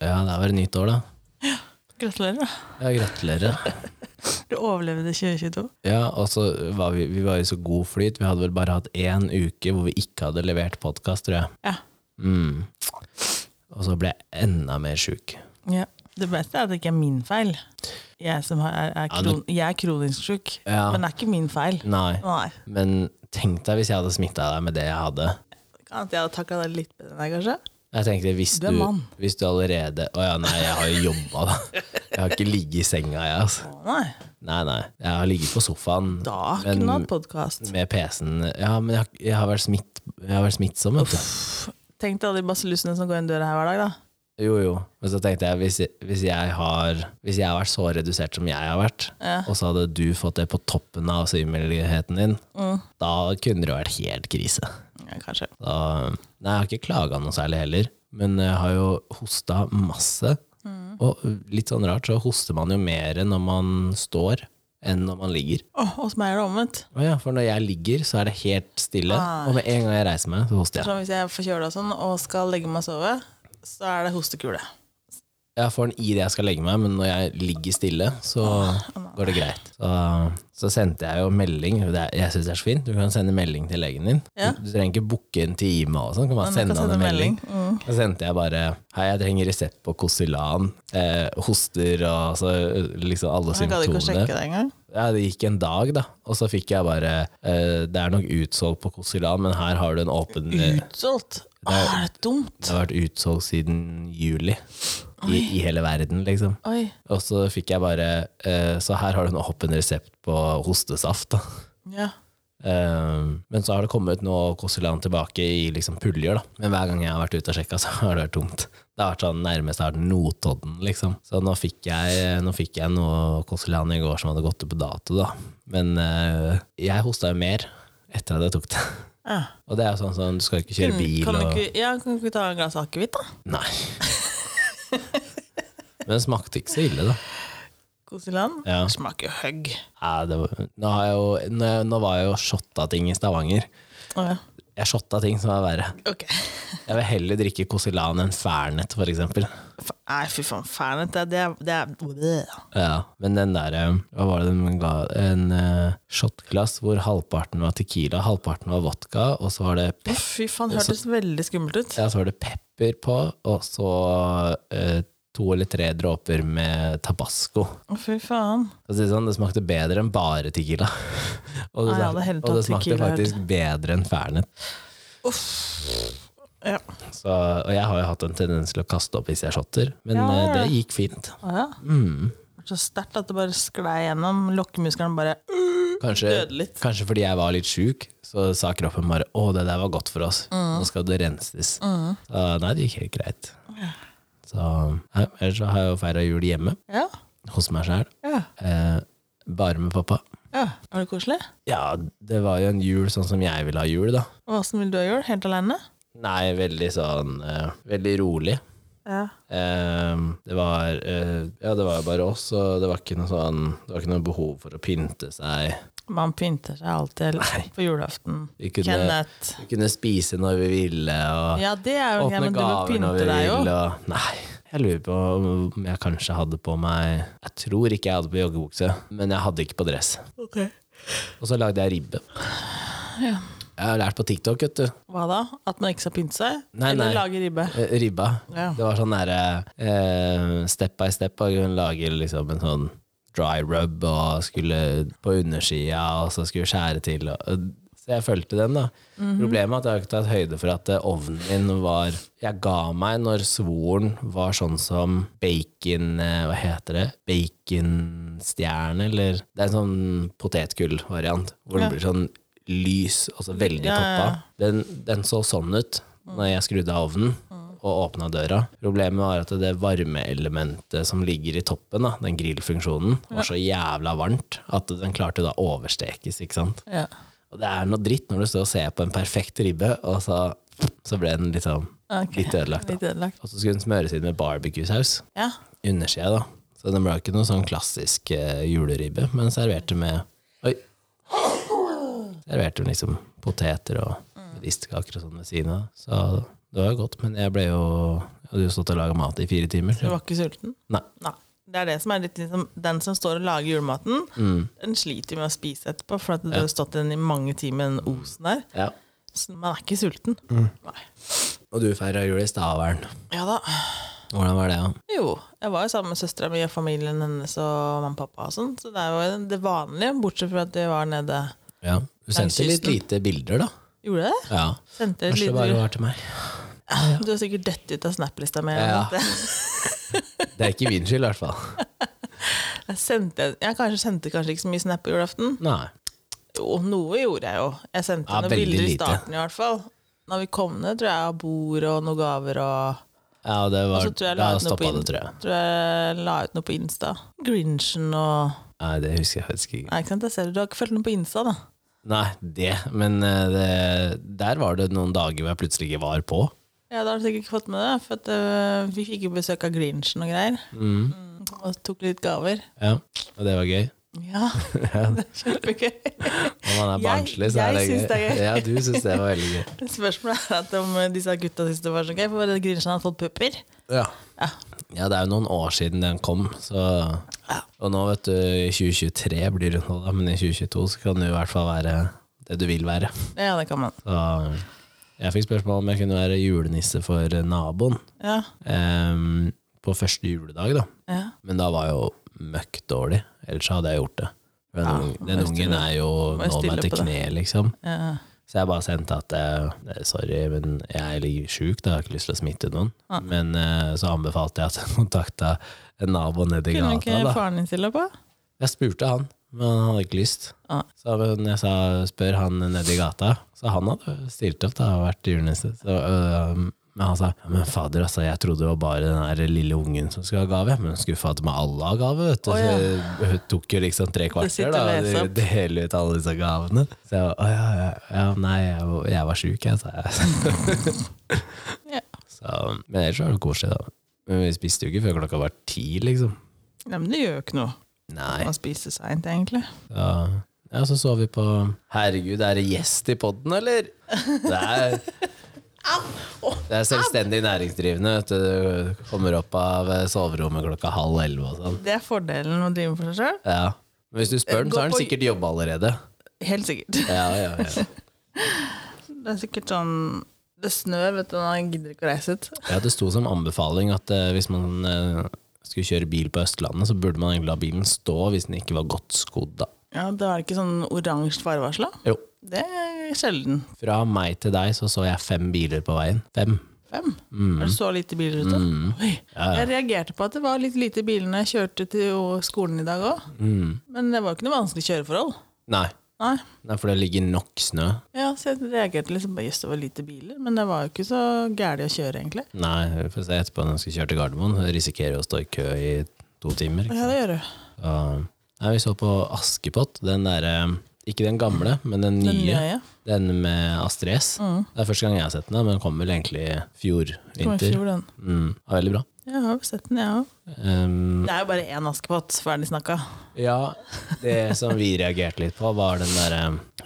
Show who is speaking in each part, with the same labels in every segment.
Speaker 1: Ja, det er vel nytt år, da.
Speaker 2: Gratulerer.
Speaker 1: Ja, gratulerer.
Speaker 2: Du overlevde 2022.
Speaker 1: Ja, og så var vi, vi var i så god flyt. Vi hadde vel bare hatt én uke hvor vi ikke hadde levert podkast, tror jeg.
Speaker 2: Ja.
Speaker 1: Mm. Og så ble jeg enda mer sjuk.
Speaker 2: Ja. Det beste er at det ikke er min feil. Jeg, som har- er, er,
Speaker 1: Ja, du-
Speaker 2: kron, jeg er kronisk syk,
Speaker 1: Ja.
Speaker 2: men det er ikke min feil.
Speaker 1: Nei.
Speaker 2: Nei.
Speaker 1: Men tenk deg hvis jeg hadde smitta deg med det jeg hadde.
Speaker 2: At jeg hadde takla deg litt bedre enn deg, kanskje?
Speaker 1: Jeg tenkte, hvis
Speaker 2: Du
Speaker 1: du,
Speaker 2: er mann.
Speaker 1: hvis du allerede Å ja, nei, jeg har jo jobba, da. Jeg har ikke ligget i senga, jeg, altså.
Speaker 2: Å nei.
Speaker 1: Nei, nei. Jeg har ligget på sofaen
Speaker 2: Da
Speaker 1: Men-
Speaker 2: kunne du hatt podkast.
Speaker 1: med PC-en. Ja, men jeg, har- jeg, har vært smitt, jeg har vært smittsom, vet du.
Speaker 2: Tenk deg alle de basillusene som går inn døra her hver dag, da.
Speaker 1: Jo, jo. Men så tenkte jeg, hvis, hvis, jeg har, hvis jeg har vært så redusert som jeg har vært,
Speaker 2: Ja.
Speaker 1: og så hadde du fått det på toppen av sykemeldigheten din,
Speaker 2: Mm.
Speaker 1: da kunne det jo vært helt krise.
Speaker 2: Ja, kanskje.
Speaker 1: Da, nei, jeg har ikke klaga noe særlig heller, men jeg har jo hosta masse.
Speaker 2: Mm.
Speaker 1: Og litt sånn rart, så hoster man jo mer når man står enn når man ligger.
Speaker 2: Åh, hos meg er det omvendt.
Speaker 1: Å ja, for når jeg ligger, så er det helt stille,
Speaker 2: Ah.
Speaker 1: og med en gang jeg reiser meg, så hoster jeg.
Speaker 2: Sånn, hvis jeg er forkjøla og sånn, og skal legge meg og sove, så er det hostekule.
Speaker 1: Jeg får den i det jeg skal legge meg, men når jeg ligger stille, så går det greit. Så, så sendte jeg jo melding. Det er, jeg synes det er så fint. Du kan sende melding til legen din.
Speaker 2: Ja.
Speaker 1: Du, du trenger ikke booke en time og sånn. Du kan bare
Speaker 2: Men du
Speaker 1: sende
Speaker 2: kan
Speaker 1: han
Speaker 2: sende
Speaker 1: en melding.
Speaker 2: melding. Mm,
Speaker 1: Så sendte jeg bare Hei, jeg trenger resept på Kosylan. Eh, hoster og så liksom alle
Speaker 2: Jeg gadd ikke å
Speaker 1: symptomene.
Speaker 2: sjekke det engang.
Speaker 1: Ja, det gikk en dag, da. Og så fikk jeg bare eh, Det er nok utsolgt på Kosylan, men her har du en åpen eh,
Speaker 2: Utsolgt? Åh, er det dumt?
Speaker 1: Det har vært utsolgt siden juli. I, I hele verden, liksom.
Speaker 2: Oi.
Speaker 1: Og så fikk jeg bare eh, Så her har du en åpen resept på hostesaft. Da.
Speaker 2: Ja.
Speaker 1: Eh, men så har det kommet nå Kosylan tilbake i liksom puljer, da. Men hver gang jeg har vært ute og sjekka, så har det vært tomt. Det har vært sånn nærmest har den Notodden, liksom. Så nå fikk jeg, nå fikk jeg noe Kosylan i går som hadde gått ut på dato, da. Men eh, jeg hosta jo mer etter at jeg tok det.
Speaker 2: ja.
Speaker 1: Og det er jo sånn sånn, du skal ikke kjøre bil
Speaker 2: Mm, kan, du
Speaker 1: og
Speaker 2: ikke, ja, kan du ikke ta et glass akevitt, da?
Speaker 1: Nei. Men det smakte ikke så ille, da.
Speaker 2: Koseland?
Speaker 1: Ja.
Speaker 2: Det Smaker jo høgg.
Speaker 1: Nei, det var, nå, har jeg jo, nå, nå var jeg jo shotta ting i Stavanger.
Speaker 2: Å, ja.
Speaker 1: Jeg shotta ting som er verre.
Speaker 2: Ok.
Speaker 1: Jeg vil heller drikke Kosylan enn Fernet, for eksempel.
Speaker 2: F- Nei, fy faen, fernet. Det, det, er- det er bleh.
Speaker 1: Ja, men den der, eh, hva var det den ga? En eh, shotglass hvor halvparten var tequila, halvparten var vodka, og så var det,
Speaker 2: Å,
Speaker 1: pep
Speaker 2: Fy faen, hørtes veldig skummelt ut.
Speaker 1: ja, så var det pepper på, og så eh, to eller tre dråper med tabasco.
Speaker 2: Å, Fy faen.
Speaker 1: For å si Det, sånn, det smakte bedre enn bare tequila. og, det
Speaker 2: Nei, jeg hadde heller
Speaker 1: smakte, og det
Speaker 2: tatt
Speaker 1: smakte
Speaker 2: tequila,
Speaker 1: faktisk bedre enn Fernet.
Speaker 2: Ja.
Speaker 1: Så, og jeg har jo hatt en tendens til å kaste opp hvis jeg shotter, men
Speaker 2: Ja, ja,
Speaker 1: eh,
Speaker 2: ja.
Speaker 1: det gikk fint. Mm.
Speaker 2: Å, ja. Det var Så sterkt at det bare sklei gjennom. Lokkemuskelen bare
Speaker 1: Kanskje,
Speaker 2: Døde litt.
Speaker 1: kanskje fordi jeg var litt sjuk, så sa kroppen bare 'Å, det der var godt for oss.
Speaker 2: Mm.
Speaker 1: Nå skal det renses'. Så, nei, det gikk helt greit. Så, ja, ellers så har jeg jo feira jul hjemme
Speaker 2: Ja.
Speaker 1: hos meg sjæl.
Speaker 2: Ja.
Speaker 1: Eh, bare med pappa.
Speaker 2: ja. Var det koselig?
Speaker 1: Ja, det var jo en jul sånn som jeg ville ha jul, da.
Speaker 2: Åssen vil du ha jul? Helt alene?
Speaker 1: Nei, veldig sånn eh, Veldig rolig.
Speaker 2: Ja.
Speaker 1: Ehm, det var eh, Ja, det var jo bare oss, og det var ikke noe sånn Det var ikke noe behov for å pynte seg.
Speaker 2: Man pynter seg alltid på julaften.
Speaker 1: Vi kunne,
Speaker 2: Kenneth.
Speaker 1: vi kunne spise når vi ville, og
Speaker 2: Ja, det er jo
Speaker 1: åpne
Speaker 2: greit, men du må
Speaker 1: gaver
Speaker 2: pynte
Speaker 1: når vi
Speaker 2: deg jo.
Speaker 1: ville. Og, nei, jeg lurer på om jeg kanskje hadde på meg Jeg tror ikke jeg hadde på joggebukse, men jeg hadde ikke på dress.
Speaker 2: Ok.
Speaker 1: Og så lagde jeg ribbe. Jeg har lært på TikTok, vet du.
Speaker 2: Hva da? At man ikke skal pynte seg?
Speaker 1: Nei,
Speaker 2: Eller
Speaker 1: nei.
Speaker 2: lage ribbe?
Speaker 1: Eh, Ribba.
Speaker 2: Ja.
Speaker 1: Det var sånn derre eh, step by step. Og hun lager liksom en sånn dry rub og skulle på undersida, og så skulle skjære til. Og, så jeg fulgte den, da. Problemet er at jeg har ikke tatt høyde for at eh, ovnen min var Jeg ga meg når svoren var sånn som bacon eh, Hva heter det? Baconstjerne, eller Det er en sånn potetgullvariant, hvor den blir sånn lys, og så veldig
Speaker 2: Ja, ja, ja.
Speaker 1: toppa. Den, den så sånn ut når jeg skrudde av ovnen og åpna døra. Problemet var at det varmeelementet som ligger i toppen, da, den grillfunksjonen, var så jævla varmt at den klarte da å overstekes. ikke sant?
Speaker 2: Ja.
Speaker 1: Og det er noe dritt når du står og ser på en perfekt ribbe, og så, så ble den liksom
Speaker 2: Ok.
Speaker 1: litt ødelagt. da.
Speaker 2: Litt ødelagt.
Speaker 1: Og så skulle den smøres inn med barbecue-saus.
Speaker 2: Ja.
Speaker 1: Undersida, da. Så den ble jo ikke noe sånn klassisk eh, juleribbe, men serverte med Oi! Serverte med liksom poteter og medisterkaker og sånn ved siden av. Så Det var jo godt, men jeg ble jo Jeg hadde jo stått og laga mat i fire timer.
Speaker 2: Du var ikke sulten?
Speaker 1: Nei.
Speaker 2: Det er det som er litt liksom Den som står og lager julematen,
Speaker 1: Mm.
Speaker 2: den sliter med å spise etterpå, for at du har stått den i mange timer, den osen der.
Speaker 1: Ja.
Speaker 2: Så man er ikke sulten.
Speaker 1: Mm.
Speaker 2: Nei.
Speaker 1: Og du feira jul i Stavern.
Speaker 2: Ja da.
Speaker 1: Hvordan var det? da?
Speaker 2: Jo, jeg var jo sammen med søstera mi og familien hennes og mamma og pappa og sånn, så det er jo det vanlige, bortsett fra at vi var nede
Speaker 1: Ja. Du
Speaker 2: Langs
Speaker 1: sendte litt
Speaker 2: kysten.
Speaker 1: lite bilder, da.
Speaker 2: Gjorde jeg det?
Speaker 1: Ja.
Speaker 2: Sendte et
Speaker 1: Kanskje det bare
Speaker 2: lite
Speaker 1: var til meg.
Speaker 2: Du har sikkert dødd ut av Snap-lista mi.
Speaker 1: Ja.
Speaker 2: eller noe.
Speaker 1: Det er ikke min skyld, i hvert fall.
Speaker 2: Jeg, sendte, jeg kanskje sendte kanskje ikke så mye snap på julaften.
Speaker 1: Nei.
Speaker 2: Jo, noe gjorde jeg jo. Jeg sendte
Speaker 1: Ja,
Speaker 2: noen
Speaker 1: veldig
Speaker 2: bilder i
Speaker 1: lite.
Speaker 2: starten i hvert fall. Når vi kom ned, tror jeg, av bord og noen gaver og
Speaker 1: Ja, det
Speaker 2: Og
Speaker 1: var,
Speaker 2: så tror jeg jeg
Speaker 1: da
Speaker 2: la ut noe på
Speaker 1: stoppa det,
Speaker 2: Insta.
Speaker 1: tror jeg.
Speaker 2: Tror jeg la ut noe på Insta. Grinchen og
Speaker 1: Nei, det husker jeg faktisk ikke.
Speaker 2: Nei, ikke sant, jeg ser det. Du har ikke fulgt noe på Insta, da.
Speaker 1: Nei, det, men eh, det, der var det noen dager hvor jeg plutselig ikke var på.
Speaker 2: Ja, da har du sikkert ikke fått med det, for at, øh, vi fikk jo besøk av Grinchen og greier. Mm, og tok litt gaver.
Speaker 1: Ja, Og det var gøy.
Speaker 2: Ja, det er kjempegøy.
Speaker 1: Når man er
Speaker 2: Jeg-
Speaker 1: barnslig, så
Speaker 2: jeg
Speaker 1: er det gøy.
Speaker 2: syns det er gøy.
Speaker 1: Ja, du syns det var veldig gøy.
Speaker 2: Spørsmålet er at om eh, disse gutta syntes det var så gøy, for Grinchen hadde fått pupper.
Speaker 1: Ja.
Speaker 2: Ja.
Speaker 1: ja, det er jo noen år siden den kom, så
Speaker 2: Ja.
Speaker 1: Og nå, vet du, i 2023 blir det nå, da, men i 2022 så kan du i hvert fall være det du vil være.
Speaker 2: Ja, det kan man.
Speaker 1: Så jeg fikk spørsmål om jeg kunne være julenisse for naboen
Speaker 2: Ja,
Speaker 1: em, på første juledag, da.
Speaker 2: ja.
Speaker 1: Men da var jeg jo møkk dårlig, ellers hadde jeg gjort det. For den,
Speaker 2: Ja,
Speaker 1: ung-
Speaker 2: må
Speaker 1: den
Speaker 2: jeg stille-
Speaker 1: ungen er jo
Speaker 2: må jeg
Speaker 1: nå
Speaker 2: stille
Speaker 1: meg til
Speaker 2: på det.
Speaker 1: kne, liksom.
Speaker 2: ja.
Speaker 1: Så jeg bare sendte at eh, sorry, men jeg ligger sjuk, da. jeg har ikke lyst til å smitte noen.
Speaker 2: Ja.
Speaker 1: Men eh, så anbefalte jeg at jeg kontakta en nabo nedi
Speaker 2: Kunne
Speaker 1: gata.
Speaker 2: ikke
Speaker 1: Da.
Speaker 2: faren din stille på?
Speaker 1: Jeg spurte han, men han hadde ikke lyst.
Speaker 2: Ja.
Speaker 1: Så men jeg sa spør han nedi gata, så han hadde stilt opp da, og vært julenisse. Så, øh, men han sa ja, men fader, altså, jeg trodde det var bare den her lille ungen som skulle ha gave. Men skuffa at med alle har gave, vet du.
Speaker 2: Å, ja.
Speaker 1: Så hun tok jo liksom tre
Speaker 2: sitter
Speaker 1: kvarter da,
Speaker 2: og
Speaker 1: og
Speaker 2: leser opp.
Speaker 1: de- deler ut alle disse gavene. Så jeg var å ja, ja, ja, nei, jeg, var- jeg var sjuk, jeg, sa jeg.
Speaker 2: Ja.
Speaker 1: så, men ellers var det koselig, da. Men vi spiste jo ikke før klokka var ti, liksom.
Speaker 2: Nei, men det gjør jo ikke noe.
Speaker 1: Nei.
Speaker 2: Man spiser seint, egentlig.
Speaker 1: Ja. ja, så så vi på Herregud, er det gjest i podden, eller? Det er, det er selvstendig næringsdrivende. Vet du. du kommer opp av eh, soverommet klokka halv elleve og sånn.
Speaker 2: Det er fordelen med å drive for seg sjøl.
Speaker 1: Ja. Men hvis du spør den, så har den sikkert jobba allerede.
Speaker 2: Helt sikkert.
Speaker 1: Ja, ja, ja.
Speaker 2: Det er sikkert sånn Det snør, vet du, og han gidder ikke å reise ut.
Speaker 1: ja, det sto som anbefaling at eh, hvis man eh, skulle kjøre bil på Østlandet, så burde man egentlig la bilen stå hvis den ikke var godt skodd, da.
Speaker 2: Ja, Da er det ikke sånn oransje farevarsel, da?
Speaker 1: Jo.
Speaker 2: Det er sjelden.
Speaker 1: Fra meg til deg så så jeg fem biler på veien. Fem.
Speaker 2: Fem? Er det så lite biler ute? Oi.
Speaker 1: Mm. Ja, ja.
Speaker 2: Jeg reagerte på at det var litt lite biler når jeg kjørte til skolen i dag òg. Men det var jo ikke noe vanskelig kjøreforhold.
Speaker 1: Mm. Nei.
Speaker 2: Nei.
Speaker 1: Nei, for det ligger nok snø.
Speaker 2: Ja, så jeg reagerte liksom på jøss, det var lite biler. Men det var jo ikke så gærent å kjøre, egentlig.
Speaker 1: Nei, vi får se etterpå når vi skal kjøre til Gardermoen. Jeg Risikerer å stå i kø i to timer.
Speaker 2: Ja,
Speaker 1: Ikke sant?
Speaker 2: det gjør du.
Speaker 1: Og- Nei, vi så på Askepott. Den derre Ikke den gamle, men den nye. Mm.
Speaker 2: Den
Speaker 1: Den,
Speaker 2: nye.
Speaker 1: med Astrid S. Det er første gang jeg har sett den, da, men den kom vel egentlig fjor
Speaker 2: Kommer ikke
Speaker 1: vinter.
Speaker 2: over den.
Speaker 1: Mm, ja, veldig bra.
Speaker 2: Jeg har jo sett den, jeg òg.
Speaker 1: Um,
Speaker 2: Det er jo bare én Askepott, ferdig snakka.
Speaker 1: ja, det som vi reagerte litt på, var den derre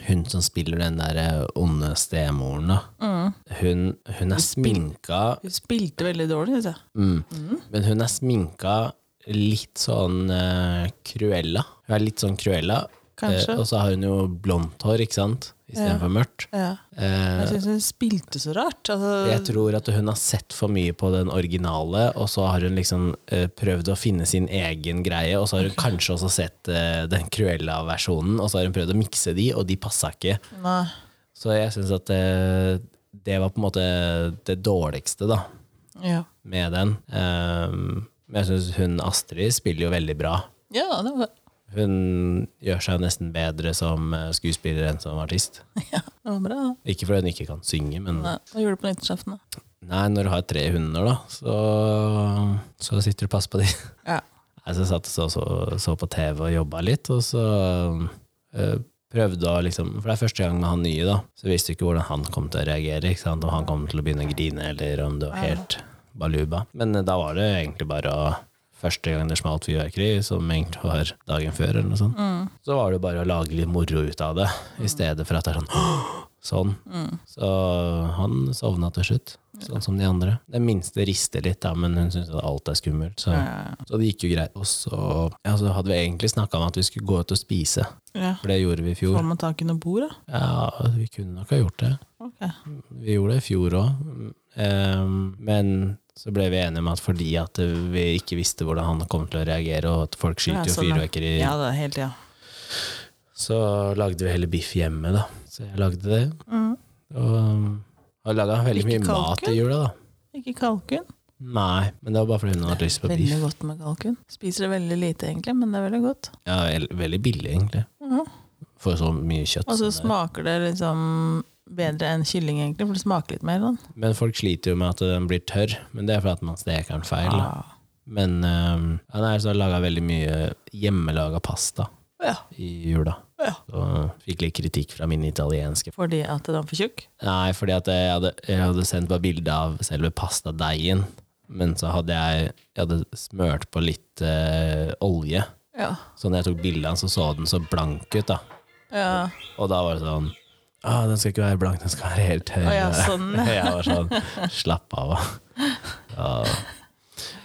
Speaker 1: Hun som spiller den derre onde stemoren, da. Hun, Mm. hun er sminka
Speaker 2: Hun spilte veldig dårlig, syns jeg.
Speaker 1: Mm. Men hun er sminka litt sånn eh, Cruella. Hun er litt sånn Cruella.
Speaker 2: Kanskje.
Speaker 1: Eh, og så har hun jo blondt hår, ikke sant? Istedenfor for mørkt.
Speaker 2: Ja.
Speaker 1: Eh,
Speaker 2: Jeg syns hun spilte så rart.
Speaker 1: jeg
Speaker 2: Altså,
Speaker 1: tror at hun har sett for mye på den originale, og så har hun liksom eh, prøvd å finne sin egen greie, og så har hun kanskje også sett eh, den Cruella-versjonen, og så har hun prøvd å mikse de, og de passa ikke.
Speaker 2: nei.
Speaker 1: Så jeg syns at eh, det var på en måte det dårligste, da.
Speaker 2: Ja.
Speaker 1: med den. Ehm, Men jeg syns hun Astrid spiller jo veldig bra.
Speaker 2: ja, det var
Speaker 1: Hun gjør seg jo nesten bedre som eh, skuespiller enn som artist.
Speaker 2: Ja, det var bra. da.
Speaker 1: Ikke fordi hun ikke kan synge, men
Speaker 2: Nei, Hva gjorde du på nyttårsaften, da?
Speaker 1: nei, når du har tre hunder, da, så, så sitter du og passer på de.
Speaker 2: Ja.
Speaker 1: Nei, så jeg satt og så, så, så på TV og jobba litt, og så øh, prøvde å liksom For det er første gang med han nye, da, så visste du ikke hvordan han kom til å reagere. Ikke sant? Om han kom til å begynne å grine, eller om det var helt baluba. Men eh, da var det egentlig bare å Første gang det smalt fyrverkeri, som egentlig var dagen før, eller noe sånt, så var det bare å lage litt moro ut av det, i stedet for at det er sånn Sånn. Så han sovna til slutt. sånn som de andre. Den minste rister litt, da, men hun syns at alt er skummelt. Så,
Speaker 2: Ja.
Speaker 1: så det gikk jo greit. Og så, ja, så hadde vi egentlig snakka om at vi skulle gå ut og spise,
Speaker 2: ja.
Speaker 1: for det gjorde vi i
Speaker 2: Får
Speaker 1: fjor.
Speaker 2: man tak i noe bord, da?
Speaker 1: Ja, vi kunne nok ha gjort det.
Speaker 2: Ok.
Speaker 1: Vi gjorde det i fjor òg, men så ble vi enige om at fordi at vi ikke visste hvordan han kom til å reagere, og at folk
Speaker 2: Ja,
Speaker 1: skyter jo
Speaker 2: sånn, ja.
Speaker 1: fyrverkeri,
Speaker 2: Ja, det er helt, ja.
Speaker 1: så lagde vi heller biff hjemme, da. Så jeg lagde det.
Speaker 2: Mm.
Speaker 1: Og um, har laga veldig
Speaker 2: Ikke
Speaker 1: mye mat
Speaker 2: kalkun?
Speaker 1: i jula, da.
Speaker 2: Ikke kalkun.
Speaker 1: Nei, men det var bare fordi hun hadde lyst på
Speaker 2: Veldig
Speaker 1: biff.
Speaker 2: godt med kalkun. Spiser det veldig lite, egentlig, men det er veldig godt.
Speaker 1: Ja, vel- veldig billig, egentlig.
Speaker 2: Mhm.
Speaker 1: For så mye kjøtt.
Speaker 2: Og så
Speaker 1: som det er.
Speaker 2: smaker det liksom bedre enn kylling, egentlig, for det smaker litt mer. Sånn.
Speaker 1: Men folk sliter jo med at den blir tørr. Men det er fordi at man steker den feil. Da.
Speaker 2: Ah.
Speaker 1: Men um, ja, nei, så har jeg laga veldig mye hjemmelaga pasta
Speaker 2: Ja.
Speaker 1: i jula.
Speaker 2: Ja.
Speaker 1: Og fikk litt kritikk fra min italienske
Speaker 2: Fordi at den er for tjukk?
Speaker 1: Nei, fordi at jeg hadde, jeg hadde sendt bare bilde av selve pastadeigen. Men så hadde jeg, jeg hadde smørt på litt eh, olje.
Speaker 2: Ja.
Speaker 1: Så når jeg tok bilde av den, så så den så blank ut. da
Speaker 2: ja.
Speaker 1: Og da var det sånn ah, Den skal ikke være blank, den skal være helt tørr.
Speaker 2: Å ja, sånn.
Speaker 1: jeg var sånn Slapp av, da. Ja.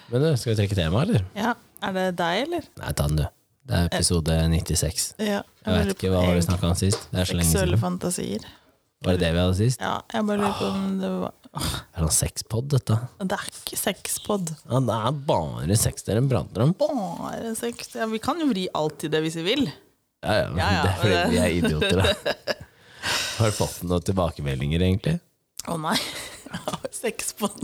Speaker 1: Men du, skal vi trekke tema, eller?
Speaker 2: ja. Er det deg, eller?
Speaker 1: Nei, ta den, du. Det er episode 96.
Speaker 2: Ja.
Speaker 1: Jeg vet ikke hva var det vi snakka om sist. Det er så lenge
Speaker 2: Seksuelle
Speaker 1: siden.
Speaker 2: fantasier.
Speaker 1: Var det det vi hadde sist?
Speaker 2: Ja, jeg bare lurer på om
Speaker 1: Ah.
Speaker 2: det var
Speaker 1: Det er sånn sexpod, dette.
Speaker 2: Det er ikke sexpod.
Speaker 1: Ja, det er bare sex dere prater om.
Speaker 2: Bare sex. Ja, vi kan jo vri alt til det hvis vi vil.
Speaker 1: Ja, ja, men
Speaker 2: Ja, ja,
Speaker 1: Det er fordi vi er idioter, da. Har du fått noen tilbakemeldinger, egentlig?
Speaker 2: Å nei. Sexpod.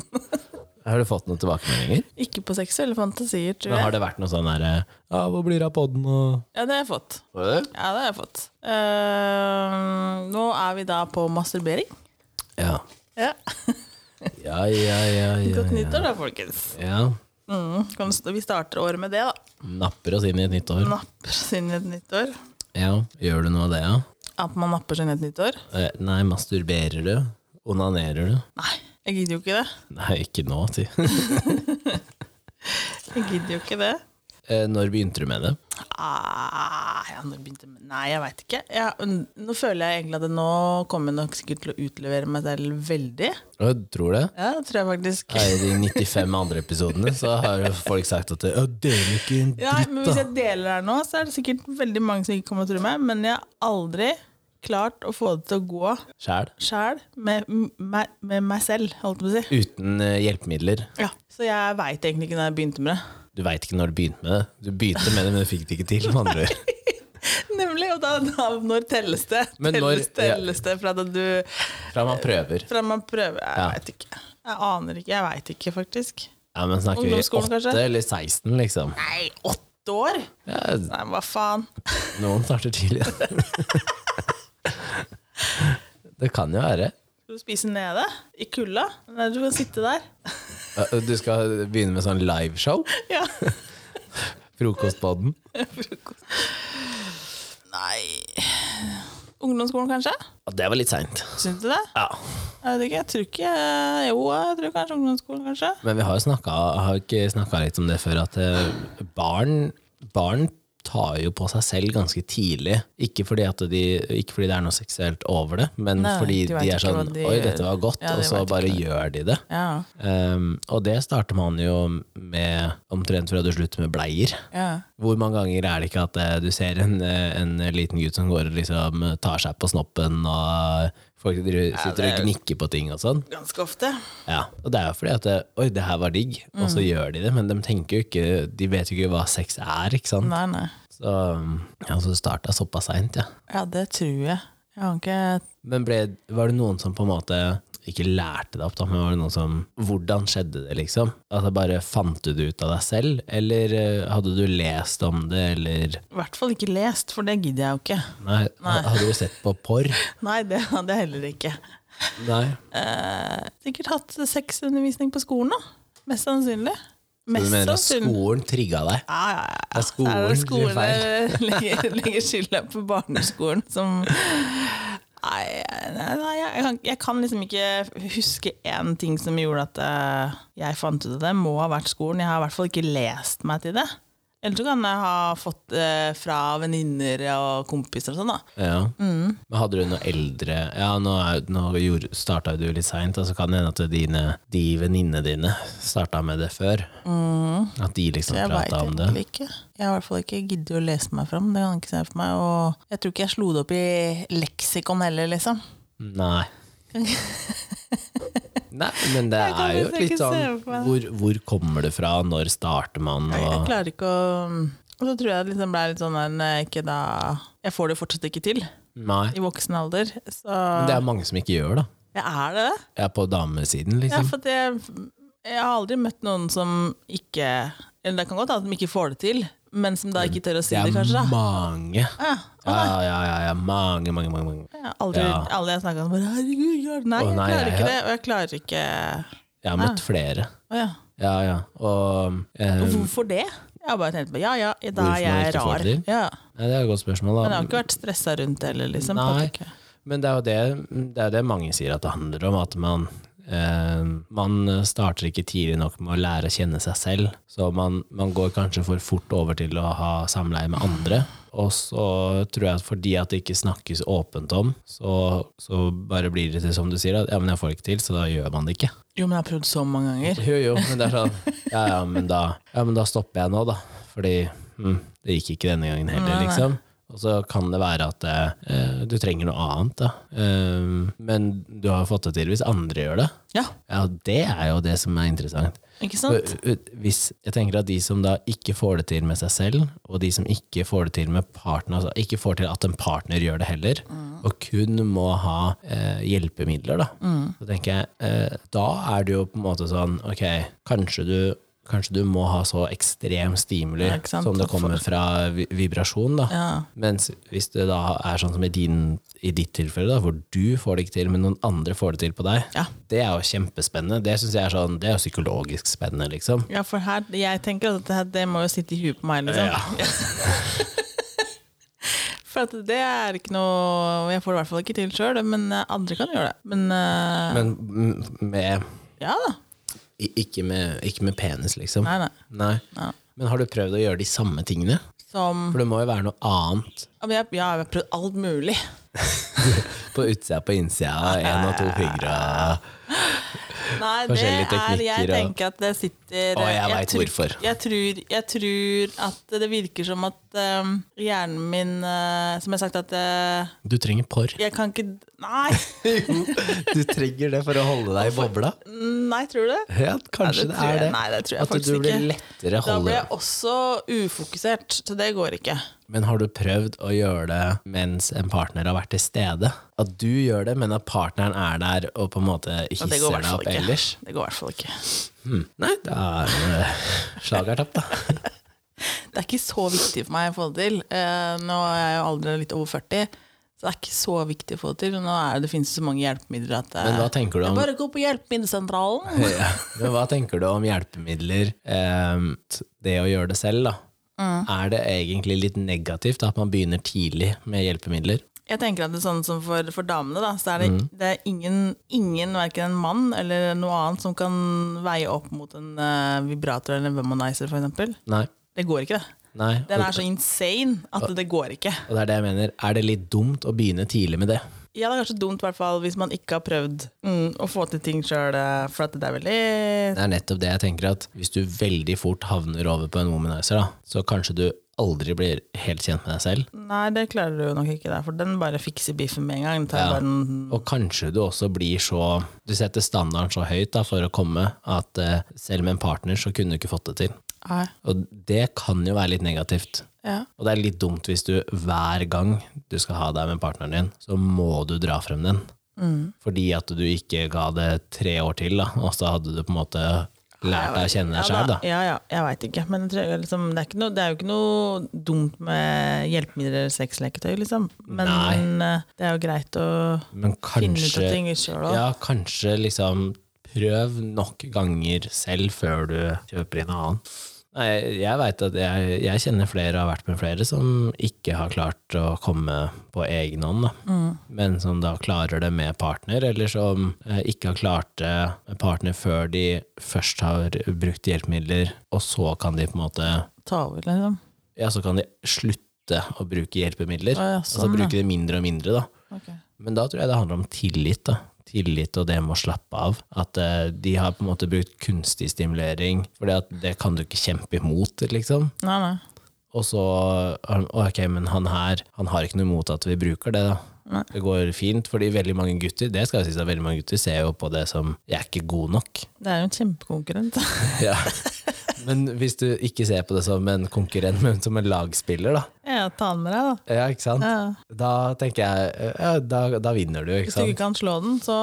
Speaker 1: Har du fått noen tilbakemeldinger?
Speaker 2: Ikke på seksuelle fantasier, tror
Speaker 1: Men
Speaker 2: jeg.
Speaker 1: har det vært noe sånn derre Ja, hvor blir det av podden og
Speaker 2: Ja, det har jeg fått.
Speaker 1: Var det det?
Speaker 2: Ja, det har jeg fått. Eh, nå er vi da på masturbering.
Speaker 1: Ja.
Speaker 2: Ja.
Speaker 1: Ja, ja, ja, ja,
Speaker 2: Godt
Speaker 1: ja.
Speaker 2: nyttår, da, folkens.
Speaker 1: ja.
Speaker 2: Mm. Kan vi- Vi starter året med det, da.
Speaker 1: Napper oss inn i et nytt år.
Speaker 2: Napper oss inn i et nytt år.
Speaker 1: Ja. Gjør du noe av det, ja?
Speaker 2: At man napper seg inn i et nytt år?
Speaker 1: Eh, Nei, masturberer du? Onanerer du?
Speaker 2: Nei, jeg gidder jo ikke det.
Speaker 1: Nei, ikke nå, si.
Speaker 2: Jeg gidder jo ikke det.
Speaker 1: Eh, Når begynte du med det?
Speaker 2: Ah, ja, nå begynte jeg med- Nei, jeg veit ikke. Ja, n- nå føler jeg egentlig at det nå kommer jeg nok sikkert til å utlevere meg selv veldig.
Speaker 1: Å, tror det?
Speaker 2: Ja, det tror jeg faktisk.
Speaker 1: Nei, I de 95 andre episodene så har jo folk sagt at Å, deler ikke en
Speaker 2: Ja, men
Speaker 1: dritt,
Speaker 2: Hvis
Speaker 1: da.
Speaker 2: jeg deler her nå, så er det sikkert veldig mange som ikke kommer til å tro meg, men jeg har aldri klart å få det til å gå
Speaker 1: Sjæl.
Speaker 2: sjæl med, m- meg- med meg selv, holdt jeg på å si.
Speaker 1: Uten eh, hjelpemidler.
Speaker 2: Ja. Så jeg veit egentlig ikke når jeg begynte med det.
Speaker 1: Du veit ikke når du begynte med det. Du begynte med det, men du fikk det ikke til. Med andre. ord.
Speaker 2: Nemlig! Og da, da når telles det?
Speaker 1: Men når-
Speaker 2: telles, telles det fra da du
Speaker 1: Fra man prøver.
Speaker 2: Fra man prøver Jeg
Speaker 1: Ja.
Speaker 2: veit ikke. Jeg aner ikke. Jeg veit ikke, faktisk.
Speaker 1: Ja, men Snakker vi 8
Speaker 2: Ungdomsskolen, kanskje?
Speaker 1: eller 16, liksom?
Speaker 2: Nei, åtte år?!
Speaker 1: Ja,
Speaker 2: Nei, hva faen.
Speaker 1: Noen starter tidlig. det kan jo være.
Speaker 2: Skal du spise nede? I kulda? Nei, du kan sitte der.
Speaker 1: Eh, Du skal begynne med sånn liveshow?
Speaker 2: Ja.
Speaker 1: Frokostpodden?
Speaker 2: Frokost. Nei Ungdomsskolen, kanskje?
Speaker 1: Ja, det var litt seint.
Speaker 2: Syns du det?
Speaker 1: Ja.
Speaker 2: Jeg vet ikke, jeg tror ikke Jo, jeg tror kanskje ungdomsskolen, kanskje.
Speaker 1: Men vi har jo snakka, har vi ikke snakka litt om det før, at eh, barn, barn tar jo på seg selv ganske tidlig. Ikke fordi, at de, ikke fordi det er noe seksuelt over det, men
Speaker 2: Nei,
Speaker 1: fordi
Speaker 2: de
Speaker 1: de,
Speaker 2: vet
Speaker 1: er
Speaker 2: ikke hva
Speaker 1: sånn
Speaker 2: de
Speaker 1: Oi,
Speaker 2: gjør."
Speaker 1: dette var godt,
Speaker 2: Ja, de
Speaker 1: og så
Speaker 2: vet
Speaker 1: bare
Speaker 2: ikke.
Speaker 1: gjør de det.
Speaker 2: Ja.
Speaker 1: Um, og det starter man jo med omtrent fra du slutter med bleier.
Speaker 2: ja.
Speaker 1: Hvor mange ganger er det ikke at eh, du ser en, eh, en liten gutt som går og liksom eh, tar seg på snoppen, og folk driver- sitter
Speaker 2: det
Speaker 1: og
Speaker 2: er-
Speaker 1: gnikker på ting og sånn?
Speaker 2: Ganske ofte.
Speaker 1: Ja, og det er jo fordi at eh, Oi, det her var digg, og
Speaker 2: Mm.
Speaker 1: så gjør de det, men de tenker jo ikke De vet jo ikke hva sex er, ikke sant?
Speaker 2: Nei, nei.
Speaker 1: Så, mm, ja, så starta såpass seint, ja.
Speaker 2: Ja, det tror jeg. Jeg har ikke
Speaker 1: Men ble, var det noen som på en måte ikke lærte deg opp, da, men var det noen som Hvordan skjedde det, liksom? Altså Bare fant du det ut av deg selv, eller eh, hadde du lest om det, eller
Speaker 2: I hvert fall ikke lest, for det gidder jeg jo ikke.
Speaker 1: Nei, ha- hadde du sett på porr?
Speaker 2: Nei, det hadde jeg heller ikke.
Speaker 1: Nei.
Speaker 2: Eh, sikkert hatt sexundervisning på skolen, da. Mest sannsynlig.
Speaker 1: Så
Speaker 2: Mest
Speaker 1: du mener at skolen trigga deg?
Speaker 2: Ja, ja, ja.
Speaker 1: Det er skolen
Speaker 2: Er det
Speaker 1: sin
Speaker 2: skolen
Speaker 1: feil.
Speaker 2: jeg legger, legger skylda på barneskolen som Nei, nei, nei jeg, kan, jeg kan liksom ikke huske én ting som gjorde at eh, jeg fant ut av det. Må ha vært skolen. Jeg har i hvert fall ikke lest meg til det. Eller så kan jeg ha fått eh, fra venninner og kompiser og sånn, da.
Speaker 1: Ja. Men hadde du noe eldre Ja, nå, er- nå gjorde- starta jo du litt seint, og så kan det hende at dine, de venninnene dine starta med det før. At de liksom
Speaker 2: Mm. Jeg veit
Speaker 1: prata om det.
Speaker 2: egentlig ikke. Jeg har i hvert fall ikke giddet å lese meg fram. Det kan jeg ikke se for meg. Og jeg tror ikke jeg slo det opp i leksikon heller, liksom.
Speaker 1: Nei. Nei, men det
Speaker 2: Jeg kan
Speaker 1: er jo
Speaker 2: nesten
Speaker 1: litt
Speaker 2: ikke
Speaker 1: sånn
Speaker 2: se for meg
Speaker 1: hvor, hvor kommer det fra, når starter man,
Speaker 2: Jeg, jeg
Speaker 1: og
Speaker 2: klarer ikke å Og så tror jeg det liksom ble litt sånn en eh, ikke da Jeg får det jo fortsatt ikke til
Speaker 1: Nei.
Speaker 2: i voksen alder. Så
Speaker 1: Men det er mange som ikke gjør det.
Speaker 2: jeg er det.
Speaker 1: Jeg er på damesiden,
Speaker 2: Ja,
Speaker 1: liksom.
Speaker 2: for at jeg, jeg har aldri møtt noen som ikke Eller det kan godt hende at de ikke får det til, men som da ikke tør å si
Speaker 1: Det er
Speaker 2: det, kanskje. da Ah,
Speaker 1: mange.
Speaker 2: ja,
Speaker 1: Ja, ja, ja, ja. Mange, mange, mange. mange.
Speaker 2: Jeg har aldri,
Speaker 1: Ja.
Speaker 2: Alle jeg snakka med, bare 'herregud, gjør det'. Nei,
Speaker 1: Å,
Speaker 2: jeg
Speaker 1: nei,
Speaker 2: klarer
Speaker 1: jeg-
Speaker 2: ikke det. Og jeg klarer ikke
Speaker 1: Jeg har
Speaker 2: Ah.
Speaker 1: møtt flere.
Speaker 2: Å ja.
Speaker 1: Ja, ja. Og eh,
Speaker 2: Hvorfor det? Jeg har bare tenkt på ja, ja, da
Speaker 1: Hvorfor
Speaker 2: er
Speaker 1: man
Speaker 2: jeg
Speaker 1: ikke får
Speaker 2: rar.
Speaker 1: det
Speaker 2: Ja.
Speaker 1: Nei, det er et godt spørsmål.
Speaker 2: Men jeg
Speaker 1: Da.
Speaker 2: har ikke vært stressa rundt det heller, liksom. på
Speaker 1: Nei.
Speaker 2: at ikke-
Speaker 1: Men det er jo det, det, er det mange sier at det handler om, at man, eh, man starter ikke tidlig nok med å lære å kjenne seg selv. Så man, man går kanskje for fort over til å ha samleie med andre. Og så tror jeg at fordi at det ikke snakkes åpent om, så, så bare blir det til som du sier, at ja, men jeg får det ikke til, så da gjør man det ikke.
Speaker 2: Jo, men jeg har prøvd så mange ganger.
Speaker 1: Jo, jo, men det er sånn Ja, ja, men da, ja, men da stopper jeg nå, da. Fordi hm, det gikk ikke denne gangen heller,
Speaker 2: Nei, nei.
Speaker 1: liksom. Og så kan det være at eh, du trenger noe annet, da. Eh, men du har jo fått det til hvis andre gjør det.
Speaker 2: Ja,
Speaker 1: Ja, det er jo det som er interessant.
Speaker 2: ikke
Speaker 1: For,
Speaker 2: sant?
Speaker 1: eh, Hvis, jeg tenker at de som da ikke får det til med seg selv, og de som ikke får det til med partner, altså ikke får til at en partner gjør det heller,
Speaker 2: Mm.
Speaker 1: og kun må ha eh, hjelpemidler, da,
Speaker 2: Mm.
Speaker 1: så tenker jeg eh, da er det jo på en måte sånn Ok, kanskje du Kanskje du må ha så ekstrem stimuli
Speaker 2: Ja, ikke sant?
Speaker 1: som det kommer fra vi- vibrasjon. da.
Speaker 2: Ja.
Speaker 1: Mens hvis det da er sånn som i, din, i ditt tilfelle, da, hvor du får det ikke til, men noen andre får det til på deg,
Speaker 2: Ja.
Speaker 1: det er jo kjempespennende. Det synes jeg er sånn, det er jo psykologisk spennende, liksom.
Speaker 2: ja, for her Jeg tenker at det, her- det må jo sitte i huet på meg, liksom.
Speaker 1: Ja.
Speaker 2: For at det er ikke noe Jeg får det i hvert fall ikke til sjøl, men eh, andre kan gjøre det. Men eh,
Speaker 1: Men mm, med,
Speaker 2: ja da.
Speaker 1: i- ikke, med, ikke med penis, liksom.
Speaker 2: Nei, nei.
Speaker 1: Nei.
Speaker 2: Ja.
Speaker 1: Men har du prøvd å gjøre de samme tingene?
Speaker 2: Som
Speaker 1: For det må jo være noe annet
Speaker 2: Ja, men jeg, ja, jeg har prøvd alt mulig.
Speaker 1: på utsida på innsida. Én og to fingre.
Speaker 2: Nei, det
Speaker 1: Forskjellige
Speaker 2: er Jeg
Speaker 1: teknikker og-
Speaker 2: tenker at det sitter
Speaker 1: Å, jeg vet
Speaker 2: tror-
Speaker 1: hvorfor.
Speaker 2: Jeg tror, jeg tror at det virker som at øhm, hjernen min øh, Som jeg har sagt, at øh,
Speaker 1: Du trenger porr.
Speaker 2: jeg kan ikke Nei!
Speaker 1: Du trenger det for å holde deg i bobla.
Speaker 2: Nei, tror du det?
Speaker 1: Ja, kanskje det,
Speaker 2: tror jeg-
Speaker 1: er det.
Speaker 2: Nei, det tror jeg
Speaker 1: At du
Speaker 2: faktisk
Speaker 1: blir
Speaker 2: ikke.
Speaker 1: lettere
Speaker 2: Da blir
Speaker 1: holde
Speaker 2: jeg også ufokusert, så det går ikke.
Speaker 1: Men har du prøvd å gjøre det mens en partner har vært til stede? At du gjør det, men at partneren er der og på en måte
Speaker 2: Og
Speaker 1: hisser
Speaker 2: det
Speaker 1: deg
Speaker 2: går i hvert fall
Speaker 1: opp
Speaker 2: ikke.
Speaker 1: ellers?
Speaker 2: Det går i hvert fall ikke.
Speaker 1: Hmm. Nei, da er det slagertapp, da.
Speaker 2: Det er ikke så viktig for meg å få det til. Eh, nå er jeg jo aldri litt over 40, så det er ikke så viktig å få det til. Nå er det, det finnes så mange hjelpemidler at eh,
Speaker 1: Men hva tenker du om
Speaker 2: Bare gå på hjelpemiddelsentralen.
Speaker 1: ja. Men hva tenker du om hjelpemidler, ehm, t- det å gjøre det selv, da?
Speaker 2: Mm.
Speaker 1: Er det egentlig litt negativt at man begynner tidlig med hjelpemidler?
Speaker 2: Jeg tenker at det er sånn som for, for damene, da, så er det, det er ingen, ingen verken en mann eller noe annet, som kan veie opp mot en eh, vibrator eller en womanizer, for eksempel.
Speaker 1: Nei.
Speaker 2: Det går ikke, det.
Speaker 1: Nei. Og,
Speaker 2: Den er så insane at det går ikke.
Speaker 1: og det er det jeg mener. Er det litt dumt å begynne tidlig med det?
Speaker 2: Ja, det er kanskje dumt i hvert fall hvis man ikke har prøvd mm, å få til ting sjøl, for at det er veldig
Speaker 1: Det er nettopp det jeg tenker at hvis du veldig fort havner over på en womanizer, da, så kanskje du aldri blir helt kjent med deg selv.
Speaker 2: Nei, det klarer du jo nok ikke, der, for den bare fikser biffen med en gang. Den Tar
Speaker 1: Ja.
Speaker 2: bare en,
Speaker 1: Og kanskje du også blir så Du setter standarden så høyt da, for å komme at eh, selv med en partner så kunne du ikke fått det til.
Speaker 2: nei,
Speaker 1: Og det kan jo være litt negativt.
Speaker 2: ja.
Speaker 1: Og det er litt dumt hvis du hver gang du skal ha deg med partneren din, så må du dra frem den.
Speaker 2: Mm.
Speaker 1: Fordi at du ikke ga det tre år til, da, og så hadde du på en måte lært deg å kjenne deg sjæl, da.
Speaker 2: Ja, ja, jeg veit ikke. Men jeg tror, liksom, det, er ikke noe, det er jo ikke noe dumt med hjelpemidler eller sexleketøy, liksom. Men eh, det er jo greit å
Speaker 1: Men
Speaker 2: finne ut av
Speaker 1: kanskje
Speaker 2: ting sjøl òg.
Speaker 1: Ja, kanskje liksom prøv nok ganger selv før du kjøper inn en annen. Nei, jeg vet at jeg, jeg kjenner flere og har vært med flere som ikke har klart å komme på egen hånd, da.
Speaker 2: Mm.
Speaker 1: men som da klarer det med partner, eller som eh, ikke har klart det med partner før de først har brukt hjelpemidler, og så kan de på en måte
Speaker 2: ta over, liksom?
Speaker 1: ja, så kan de slutte å bruke hjelpemidler.
Speaker 2: Å, ja,
Speaker 1: altså
Speaker 2: sånn, ja.
Speaker 1: bruke det mindre og mindre, da.
Speaker 2: Ok.
Speaker 1: Men da tror jeg det handler om tillit. da. Tillit og det med å slappe av. At eh, de har på en måte brukt kunstig stimulering, for det kan du ikke kjempe imot, liksom.
Speaker 2: Nei, nei.
Speaker 1: Og så har han, ok, men han her han har ikke noe imot at vi bruker det, da.
Speaker 2: Nei.
Speaker 1: Det går fint, fordi veldig mange gutter det skal jeg si, så veldig mange gutter ser jo på det som 'jeg er ikke god nok'.
Speaker 2: Det er jo en kjempekonkurrent.
Speaker 1: Ja. Men hvis du ikke ser på det som en konkurrent, men som en lagspiller, da.
Speaker 2: ja, ta den med deg, da.
Speaker 1: Ja, ikke sant?
Speaker 2: Ja.
Speaker 1: Da tenker jeg ja, da, da vinner du, ikke
Speaker 2: Hvis du
Speaker 1: sant?
Speaker 2: ikke kan slå den, så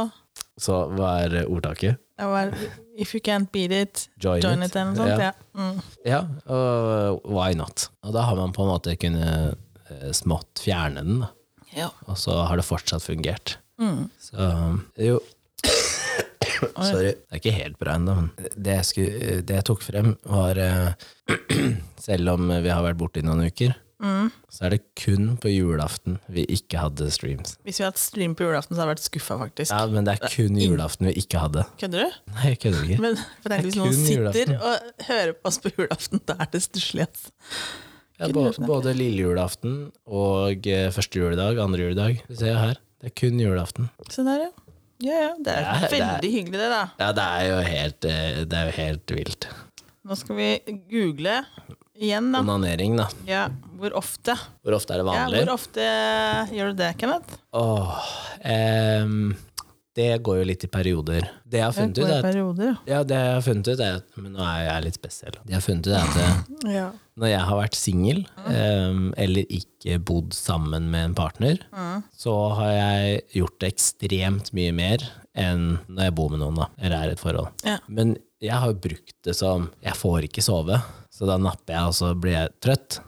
Speaker 1: Så hva er ordtaket?
Speaker 2: ja, hva er det? If you can't beat it,
Speaker 1: Join,
Speaker 2: join it, eller noe sånt. Ja. Mm.
Speaker 1: Ja, og uh, why not? Og da har man på en måte kunnet eh, smått fjerne den, da.
Speaker 2: ja.
Speaker 1: og så har det fortsatt fungert.
Speaker 2: Mm.
Speaker 1: Så um, jo Sorry. Det er ikke helt bra ennå, men det jeg, skulle, uh, det jeg tok frem, var eh, Selv om vi har vært borte i noen uker,
Speaker 2: Mm.
Speaker 1: så er det kun på julaften vi ikke hadde streams.
Speaker 2: Hvis vi hadde hatt stream på julaften, så hadde jeg vært skuffa, faktisk.
Speaker 1: Ja, men det er kun julaften vi ikke hadde.
Speaker 2: Kødder du?
Speaker 1: Nei, jeg kødder ikke.
Speaker 2: Men for tenk,
Speaker 1: Det er
Speaker 2: hvis noen
Speaker 1: kun
Speaker 2: sitter
Speaker 1: julaften.
Speaker 2: og hører på oss på julaften, da er det stusslig. ass.
Speaker 1: Ja,
Speaker 2: kun
Speaker 1: bå-
Speaker 2: julaften,
Speaker 1: både lille julaften og eh, første juledag, andre juledag. Du ser jo her. Det er kun julaften.
Speaker 2: Se der, ja. Ja, ja. Det er
Speaker 1: Ja, det er-
Speaker 2: veldig hyggelig, det, da.
Speaker 1: Ja, det er jo helt, eh, det er jo helt vilt.
Speaker 2: Nå skal vi google igjen, da.
Speaker 1: Onanering, da.
Speaker 2: Ja, hvor ofte?
Speaker 1: Hvor ofte er det
Speaker 2: Ja,
Speaker 1: vanlig?
Speaker 2: hvor ofte gjør du det, Kenneth?
Speaker 1: Åh, ehm, det går jo litt i perioder. Det jeg har funnet ut,
Speaker 2: Hvor
Speaker 1: er at,
Speaker 2: perioder,
Speaker 1: ja, det jeg har funnet ut er at Men nå er jeg litt spesiell. Det jeg har funnet ut er at eh,
Speaker 2: ja. ja.
Speaker 1: når jeg har vært singel, ehm, eller ikke bodd sammen med en partner, så har jeg gjort det ekstremt mye mer enn når jeg bor med noen, da, eller er i et forhold.
Speaker 2: Ja.
Speaker 1: Men jeg har jo brukt det som Jeg får ikke sove, så da napper jeg, og så blir jeg trøtt.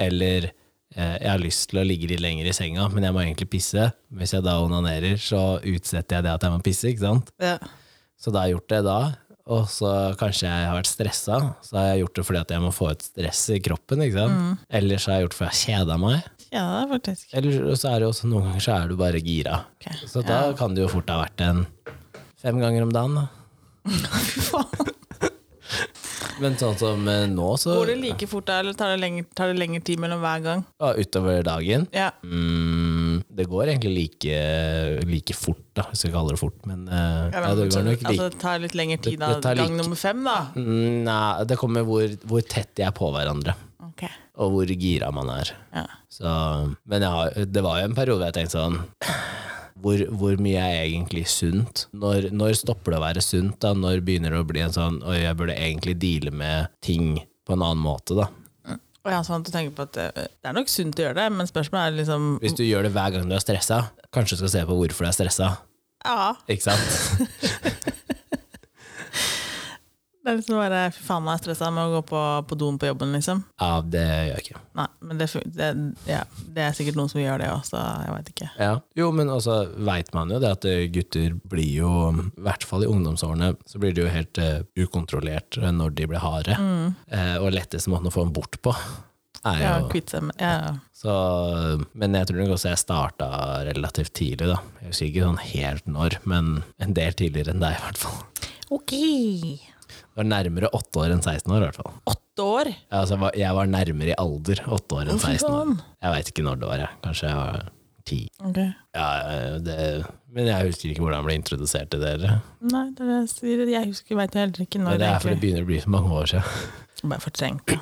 Speaker 1: Eller eh, jeg har lyst til å ligge litt lenger i senga, men jeg må egentlig pisse. Hvis jeg da onanerer, så utsetter jeg det at jeg må pisse, ikke sant?
Speaker 2: Ja.
Speaker 1: Så da har jeg gjort det da, og så kanskje jeg har vært stressa, så har jeg gjort det fordi at jeg må få et stress i kroppen, ikke sant?
Speaker 2: Mm.
Speaker 1: Eller så har jeg gjort det fordi jeg kjeda meg.
Speaker 2: ja, det er faktisk
Speaker 1: Eller så er det jo også noen ganger så er du bare gira.
Speaker 2: Ok.
Speaker 1: Så da kan det jo fort ha vært en fem ganger om dagen, da.
Speaker 2: Faen.
Speaker 1: Men sånn som eh, nå, så
Speaker 2: Går det like fort da, eller tar det lenger, tar det lengre tid mellom hver gang?
Speaker 1: ja, utover dagen
Speaker 2: Ja.
Speaker 1: mm, Det går egentlig like, like fort, da, hvis vi kaller det fort. Men eh, ja, det går nok
Speaker 2: altså,
Speaker 1: like
Speaker 2: det tar litt lengre tid
Speaker 1: Det-
Speaker 2: da,
Speaker 1: det tar
Speaker 2: gang
Speaker 1: like-
Speaker 2: nummer fem, da.
Speaker 1: Mm, Nei, det kommer hvor, hvor tett de er på hverandre,
Speaker 2: Ok.
Speaker 1: og hvor gira man er.
Speaker 2: Ja.
Speaker 1: Så, men jeg, har- det var jo en periode hvor jeg tenkte sånn hvor, hvor mye er egentlig sunt? Når, når stopper det å være sunt? da? Når begynner det å bli en sånn Oi, jeg burde egentlig deale med ting på en annen måte, da.
Speaker 2: Og ja, sånn at du tenker på at det, det er nok sunt å gjøre det, men spørsmålet er liksom
Speaker 1: Hvis du gjør det hver gang du er stressa, kanskje du skal se på hvorfor du er stressa.
Speaker 2: Ja,
Speaker 1: Ikke sant?
Speaker 2: det er liksom bare Fy faen, jeg er stressa med å gå på, på doen på jobben, liksom.
Speaker 1: Ja, det gjør jeg ikke.
Speaker 2: Nei, men det, fun- det, ja, det er sikkert noen som gjør det òg, så jeg veit ikke.
Speaker 1: Ja. Jo, men også veit man jo det at eh, gutter blir jo, i hvert fall i ungdomsårene, så blir de jo helt eh, ukontrollert eh, når de blir harde. Eh, og letteste måten å få dem bort på er
Speaker 2: Mm, Ja,
Speaker 1: jo
Speaker 2: kvitt seg med ja.
Speaker 1: Så, men jeg tror nok også jeg starta relativt tidlig, da. Jeg husker ikke sånn helt når, men en del tidligere enn deg, i hvert fall.
Speaker 2: Ok.
Speaker 1: Jeg var nærmere åtte år enn 16 år, i hvert fall.
Speaker 2: Åtte år?
Speaker 1: Ja, Altså, jeg, var, jeg var nærmere i alder åtte år enn
Speaker 2: Å, fy
Speaker 1: 16 år.
Speaker 2: faen.
Speaker 1: Jeg veit ikke når det var, jeg. Kanskje jeg var ti.
Speaker 2: Ok.
Speaker 1: Ja, det, men jeg husker ikke hvordan jeg ble introdusert til dere.
Speaker 2: Nei, det er det jeg sier. Jeg husker, veit heller ikke når
Speaker 1: Det
Speaker 2: det
Speaker 1: er for det
Speaker 2: egentlig
Speaker 1: begynner å bli så mange år siden.
Speaker 2: Bare fortrengt.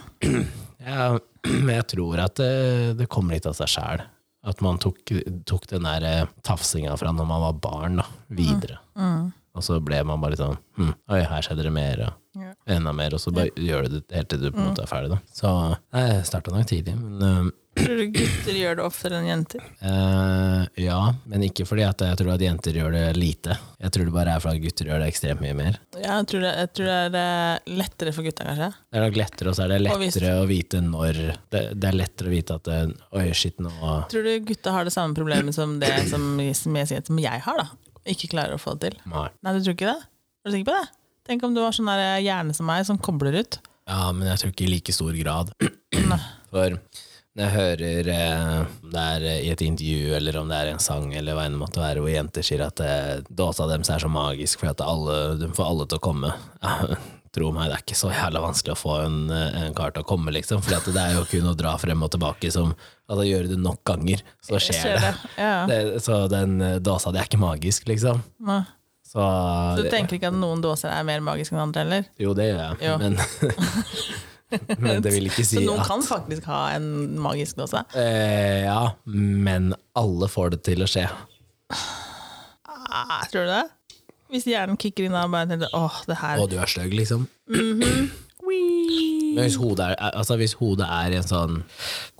Speaker 1: Ja, men jeg tror at det, det kommer litt av seg sjæl. At man tok, tok den der eh, tafsinga fra når man var barn, da, videre.
Speaker 2: Mm.
Speaker 1: Og så ble man bare litt sånn hm, Oi, her skjedde det mer, og
Speaker 2: Ja. Mm.
Speaker 1: enda mer. Og så bare gjør du det helt til du på en måte er ferdig, da. Så nei, jeg starta nok tidlig, men eh,
Speaker 2: Tror du gutter gjør det oftere enn jenter?
Speaker 1: Eh, ja, men ikke fordi at jeg tror at jenter gjør det lite. Jeg tror det bare er fordi at gutter gjør det ekstremt mye mer.
Speaker 2: Ja, jeg tror det, jeg tror det er eh, lettere for gutta, kanskje.
Speaker 1: Det er nok lettere, og så er det
Speaker 2: Og hvis-
Speaker 1: lettere å vite når det, det er lettere å vite at eh, Oi, shit, nå
Speaker 2: Tror du gutta har det samme problemet som det som, som, jeg, sier- som jeg har, da? Ikke klarer å få det til?
Speaker 1: Nei.
Speaker 2: Nei, du tror ikke det? Er du sikker på det? Tenk om du var sånn der eh, hjerne som meg, som kobler ut.
Speaker 1: Ja, men jeg tror ikke i like stor grad. For når jeg hører eh, om det er i et intervju, eller om det er i en sang, eller hva enn det måtte være, hvor jenter sier at eh, dåsa deres er så magisk fordi at alle, de får alle til å komme, tro meg, det er ikke så jævla vanskelig å få en, eh, en kar til å komme, liksom. For det er jo kun å dra frem og tilbake som altså, Gjøre det nok ganger, så skjer,
Speaker 2: Skjer
Speaker 1: det.
Speaker 2: det. Ja.
Speaker 1: det. Så den eh, dåsa, det er ikke magisk, liksom.
Speaker 2: Nei.
Speaker 1: Så,
Speaker 2: Så du tenker ikke at noen dåser er mer magiske enn andre heller?
Speaker 1: Jo, det gjør jeg,
Speaker 2: Jo.
Speaker 1: men Men det vil ikke si
Speaker 2: Så noen
Speaker 1: at
Speaker 2: kan faktisk ha en magisk dåse?
Speaker 1: eh, Ja, men alle får det til å skje.
Speaker 2: Ah, tror du det? Hvis hjernen kicker inn og bare tenker åh, det her
Speaker 1: Og du er stygg, liksom. Men hvis hodet er, altså hvis hodet er i en sånn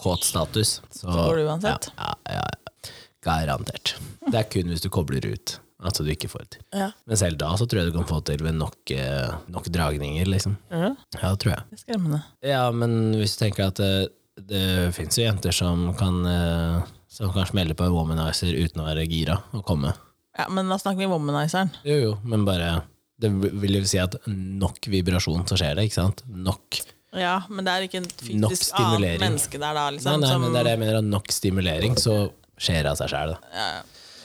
Speaker 1: kåt status, så,
Speaker 2: går det uansett.
Speaker 1: Ja, ja, ja, Garantert. Det er kun hvis du kobler ut at du ikke får det til.
Speaker 2: Ja.
Speaker 1: Men selv da så tror jeg du kan få det til ved nok, eh, nok dragninger, liksom.
Speaker 2: Tror du det?
Speaker 1: Ja, det tror jeg.
Speaker 2: Det er skremmende.
Speaker 1: Ja, men hvis du tenker at det, det fins jo jenter som kan, eh, som kan smelle på en womanizer uten å være gira og komme.
Speaker 2: Ja, men da snakker vi womanizeren.
Speaker 1: Jo, jo, men bare Det vil jo si at nok vibrasjon, så skjer det, ikke sant? Nok.
Speaker 2: Ja, men det er ikke en
Speaker 1: Nok
Speaker 2: fysisk
Speaker 1: stimulering.
Speaker 2: annet menneske der da,
Speaker 1: Nei,
Speaker 2: liksom.
Speaker 1: nei,
Speaker 2: som-
Speaker 1: men det er det jeg mener, at nok stimulering, så skjer det av seg sjæl, da.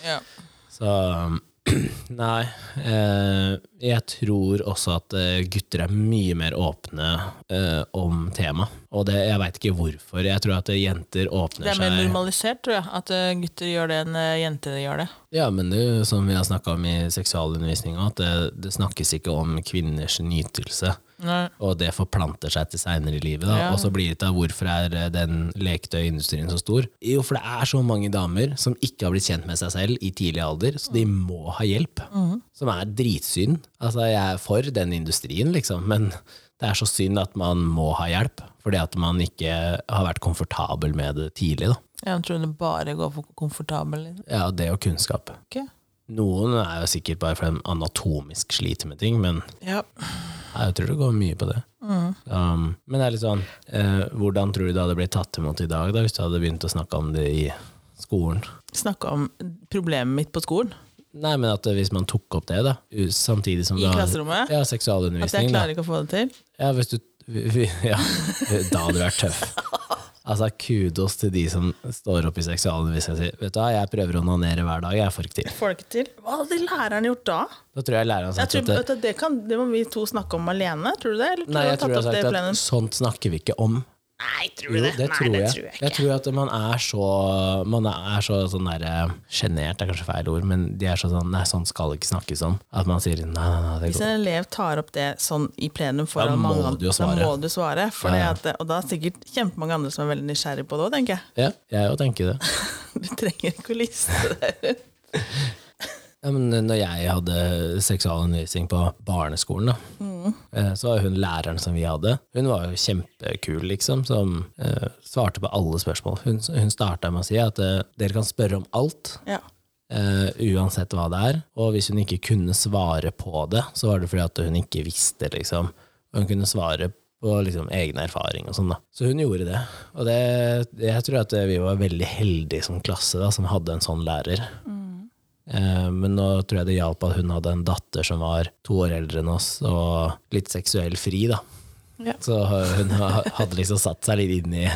Speaker 2: Ja, ja.
Speaker 1: Så Nei. Eh, jeg tror også at eh, gutter er mye mer åpne eh, om temaet. Og det, jeg veit ikke hvorfor. Jeg tror at eh, jenter åpner
Speaker 2: Det er mer
Speaker 1: seg
Speaker 2: normalisert, tror jeg, at eh, gutter gjør det enn eh, jenter gjør det.
Speaker 1: Ja, men det er jo som vi har snakka om i seksualundervisninga, at det, det snakkes ikke om kvinners nytelse.
Speaker 2: Nei.
Speaker 1: Og det forplanter seg til seinere i livet. Da.
Speaker 2: Ja.
Speaker 1: Og så blir det til hvorfor er eh, den leketøyindustrien så stor? Jo, for det er så mange damer som ikke har blitt kjent med seg selv i tidlig alder, så de må ha hjelp. Som er dritsynd. Altså, jeg er for den industrien, liksom, men det er så synd at man må ha hjelp. Fordi at man ikke har vært komfortabel med det tidlig. Da.
Speaker 2: Jeg tror det bare går for komfortabel. Liksom.
Speaker 1: Ja, det og kunnskap.
Speaker 2: Ok.
Speaker 1: Noen er jo sikkert bare fordi de anatomisk sliter med ting, men
Speaker 2: Ja.
Speaker 1: jeg tror det går mye på det. Um, men det er litt sånn, eh, hvordan tror du det hadde blitt tatt imot i dag, da, hvis du hadde begynt å snakke om det i skolen?
Speaker 2: Snakke om problemet mitt på skolen,
Speaker 1: Nei, men at eh, hvis man tok opp det, da, u- samtidig som
Speaker 2: i
Speaker 1: du har
Speaker 2: klasserommet.
Speaker 1: ja,
Speaker 2: At jeg
Speaker 1: seksualundervisning, da.
Speaker 2: klarer ikke å få det til.
Speaker 1: Ja, hvis du, vi- vi- ja, da hadde du vært tøff. Altså, kudos til de som står opp i seksualundervisning og sier vet du hva, jeg prøver å onanere hver dag, jeg får ikke til.
Speaker 2: Får det ikke til. Hva hadde læreren gjort da?
Speaker 1: Da tror jeg læreren sa
Speaker 2: Jeg tror,
Speaker 1: at det,
Speaker 2: vet du, det, kan, det må vi to snakke om alene, tror du det? Eller tror
Speaker 1: Nei,
Speaker 2: du
Speaker 1: jeg tror
Speaker 2: han
Speaker 1: jeg
Speaker 2: tatt
Speaker 1: har
Speaker 2: opp det i
Speaker 1: sagt at
Speaker 2: plenum?
Speaker 1: sånt snakker vi ikke om.
Speaker 2: Nei, tror
Speaker 1: Jo,
Speaker 2: du
Speaker 1: det,
Speaker 2: det? Nei,
Speaker 1: tror jeg.
Speaker 2: det
Speaker 1: jeg,
Speaker 2: tror jeg ikke.
Speaker 1: tror at man er så Man er så sånn derre Sjenert er kanskje feil ord, men de er så sånn Nei, sånn skal det ikke snakkes om. At man sier nei, nei, nei, det
Speaker 2: Hvis
Speaker 1: går
Speaker 2: en elev tar opp det sånn i plenum
Speaker 1: Da
Speaker 2: foran
Speaker 1: må
Speaker 2: mange
Speaker 1: du jo
Speaker 2: andre, da
Speaker 1: svare.
Speaker 2: må du svare. For
Speaker 1: Ja, ja.
Speaker 2: det at, og da er det sikkert kjempemange andre som er veldig nysgjerrig på det òg, tenker jeg.
Speaker 1: Ja, jeg jo tenker det.
Speaker 2: Du trenger ikke å liste det ut.
Speaker 1: Ja, men når jeg hadde seksualundervisning på barneskolen, da,
Speaker 2: Mm.
Speaker 1: eh, så var hun læreren som vi hadde, hun var jo kjempekul, liksom, som eh, svarte på alle spørsmål. Hun, hun starta med å si at eh, dere kan spørre om alt,
Speaker 2: Ja.
Speaker 1: Eh, uansett hva det er. Og hvis hun ikke kunne svare på det, så var det fordi at hun ikke visste, liksom. Og hun kunne svare på liksom, egen erfaring og sånn, da. Så hun gjorde det. Og det, jeg tror at vi var veldig heldige som klasse, da, som hadde en sånn lærer.
Speaker 2: Mm.
Speaker 1: Eh, Men nå tror jeg det hjalp at hun hadde en datter som var to år eldre enn oss, og litt seksuell fri, da.
Speaker 2: Ja.
Speaker 1: Så hun ha- hadde liksom satt seg litt inn i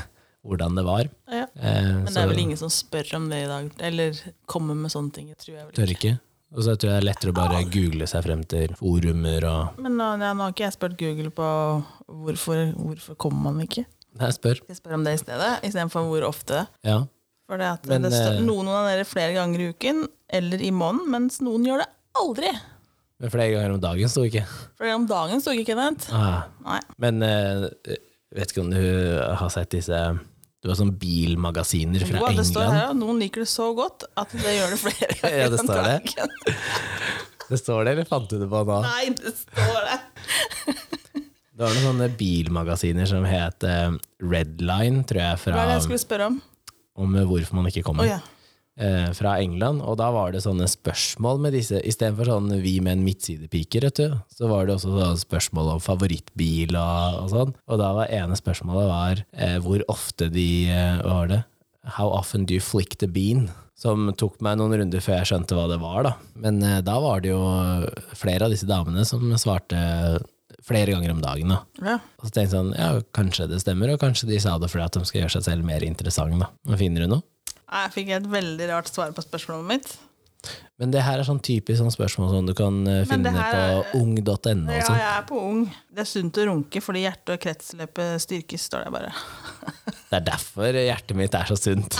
Speaker 1: hvordan det var. Eh,
Speaker 2: Ja.
Speaker 1: Men
Speaker 2: Men det er vel ingen som spør om det i dag, eller kommer med sånne ting. Tror jeg vel.
Speaker 1: Tør ikke. Og så tror jeg det er lettere å bare google seg frem til forumer og
Speaker 2: Men nå, ja, nå har ikke jeg spurt Google på hvorfor, hvorfor kommer man ikke.
Speaker 1: Nei, spør.
Speaker 2: Skal jeg spørre om det i stedet, istedenfor hvor ofte.
Speaker 1: Ja.
Speaker 2: For det at
Speaker 1: Men,
Speaker 2: det står,
Speaker 1: eh,
Speaker 2: noen onanerer flere ganger i uken eller i måneden, mens noen gjør det aldri.
Speaker 1: Men flere ganger om dagen sto ikke.
Speaker 2: For om dagen sto ikke Kenneth.
Speaker 1: Ah.
Speaker 2: Nei.
Speaker 1: Men eh, vet ikke om du har sett disse Du har sånne bilmagasiner fra
Speaker 2: Jo, det
Speaker 1: England.
Speaker 2: står her, ja. Noen liker det så godt at det gjør det flere ganger
Speaker 1: Ja, det står det. Ah.
Speaker 2: om dagen.
Speaker 1: Det står det, eller fant du det på nå?
Speaker 2: Nei, det står det.
Speaker 1: Det var noen sånne bilmagasiner som het eh, Redline, tror jeg,
Speaker 2: Hva
Speaker 1: fra,
Speaker 2: er det jeg skulle spørre om?
Speaker 1: om hvorfor man ikke
Speaker 2: Å
Speaker 1: kommer.
Speaker 2: ja.
Speaker 1: eh, fra England, og da var det sånne spørsmål med disse, istedenfor sånn vi menn midtsidepiker, vet du, så var det også sånne spørsmål om favorittbil og, og sånn, og da var ene spørsmålet var eh, hvor ofte de, eh, hva var det, how often do you flick the bean? Som tok meg noen runder før jeg skjønte hva det var da, men eh, da var det jo flere av disse damene som svarte flere ganger om dagen da.
Speaker 2: ja.
Speaker 1: Og så tenkte jeg sånn, ja, kanskje det stemmer, og kanskje de sa det fordi at de skal gjøre seg selv mer interessant da. Men finner du noe?
Speaker 2: Nei, Jeg fikk et veldig rart svar på spørsmålet mitt.
Speaker 1: Men det her er sånn typisk sånn spørsmål som du kan eh,
Speaker 2: Men
Speaker 1: finne
Speaker 2: det her
Speaker 1: på ung.no. og
Speaker 2: Ja,
Speaker 1: sånn.
Speaker 2: jeg er på ung. Det er sunt å runke fordi hjerte- og kretsløpet styrkes, står det bare.
Speaker 1: Det er derfor hjertet mitt er så sunt.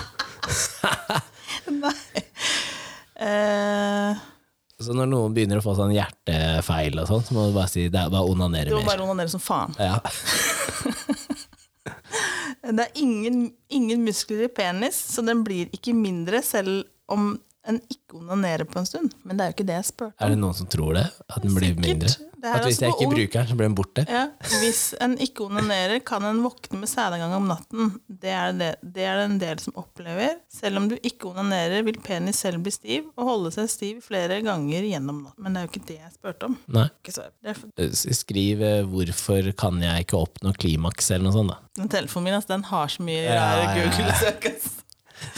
Speaker 2: Nei. Eh,
Speaker 1: Så når noen begynner å få sånn hjertefeil og sånn, så må du bare si det er bare å
Speaker 2: du
Speaker 1: onanere
Speaker 2: må
Speaker 1: mer.
Speaker 2: bare onanere som faen.
Speaker 1: Ja.
Speaker 2: Det er ingen, ingen muskler i penis, så den blir ikke mindre selv om en ikke onanerer på en stund. Men det er jo ikke det jeg spurte
Speaker 1: Er det noen som tror det? At den blir
Speaker 2: Sikkert.
Speaker 1: mindre?
Speaker 2: Det er
Speaker 1: At hvis
Speaker 2: altså
Speaker 1: jeg
Speaker 2: på
Speaker 1: ikke
Speaker 2: ung-
Speaker 1: bruker den, så blir den borte?
Speaker 2: Ja, hvis en ikke onanerer, kan en våkne med sædavgang om natten. Det er det, det er det en del som opplever. Selv om du ikke onanerer, vil penis selv bli stiv og holde seg stiv flere ganger gjennom natten. Men det er jo ikke det jeg spurte om.
Speaker 1: Nei.
Speaker 2: Ikke svar. Det er for-
Speaker 1: S- Skriv eh, 'Hvorfor kan jeg ikke oppnå klimaks?' eller noe sånt. da.
Speaker 2: Den telefonen min ass, den har så mye
Speaker 1: Ja,
Speaker 2: rare
Speaker 1: ja, ja.
Speaker 2: Google-søk. ass.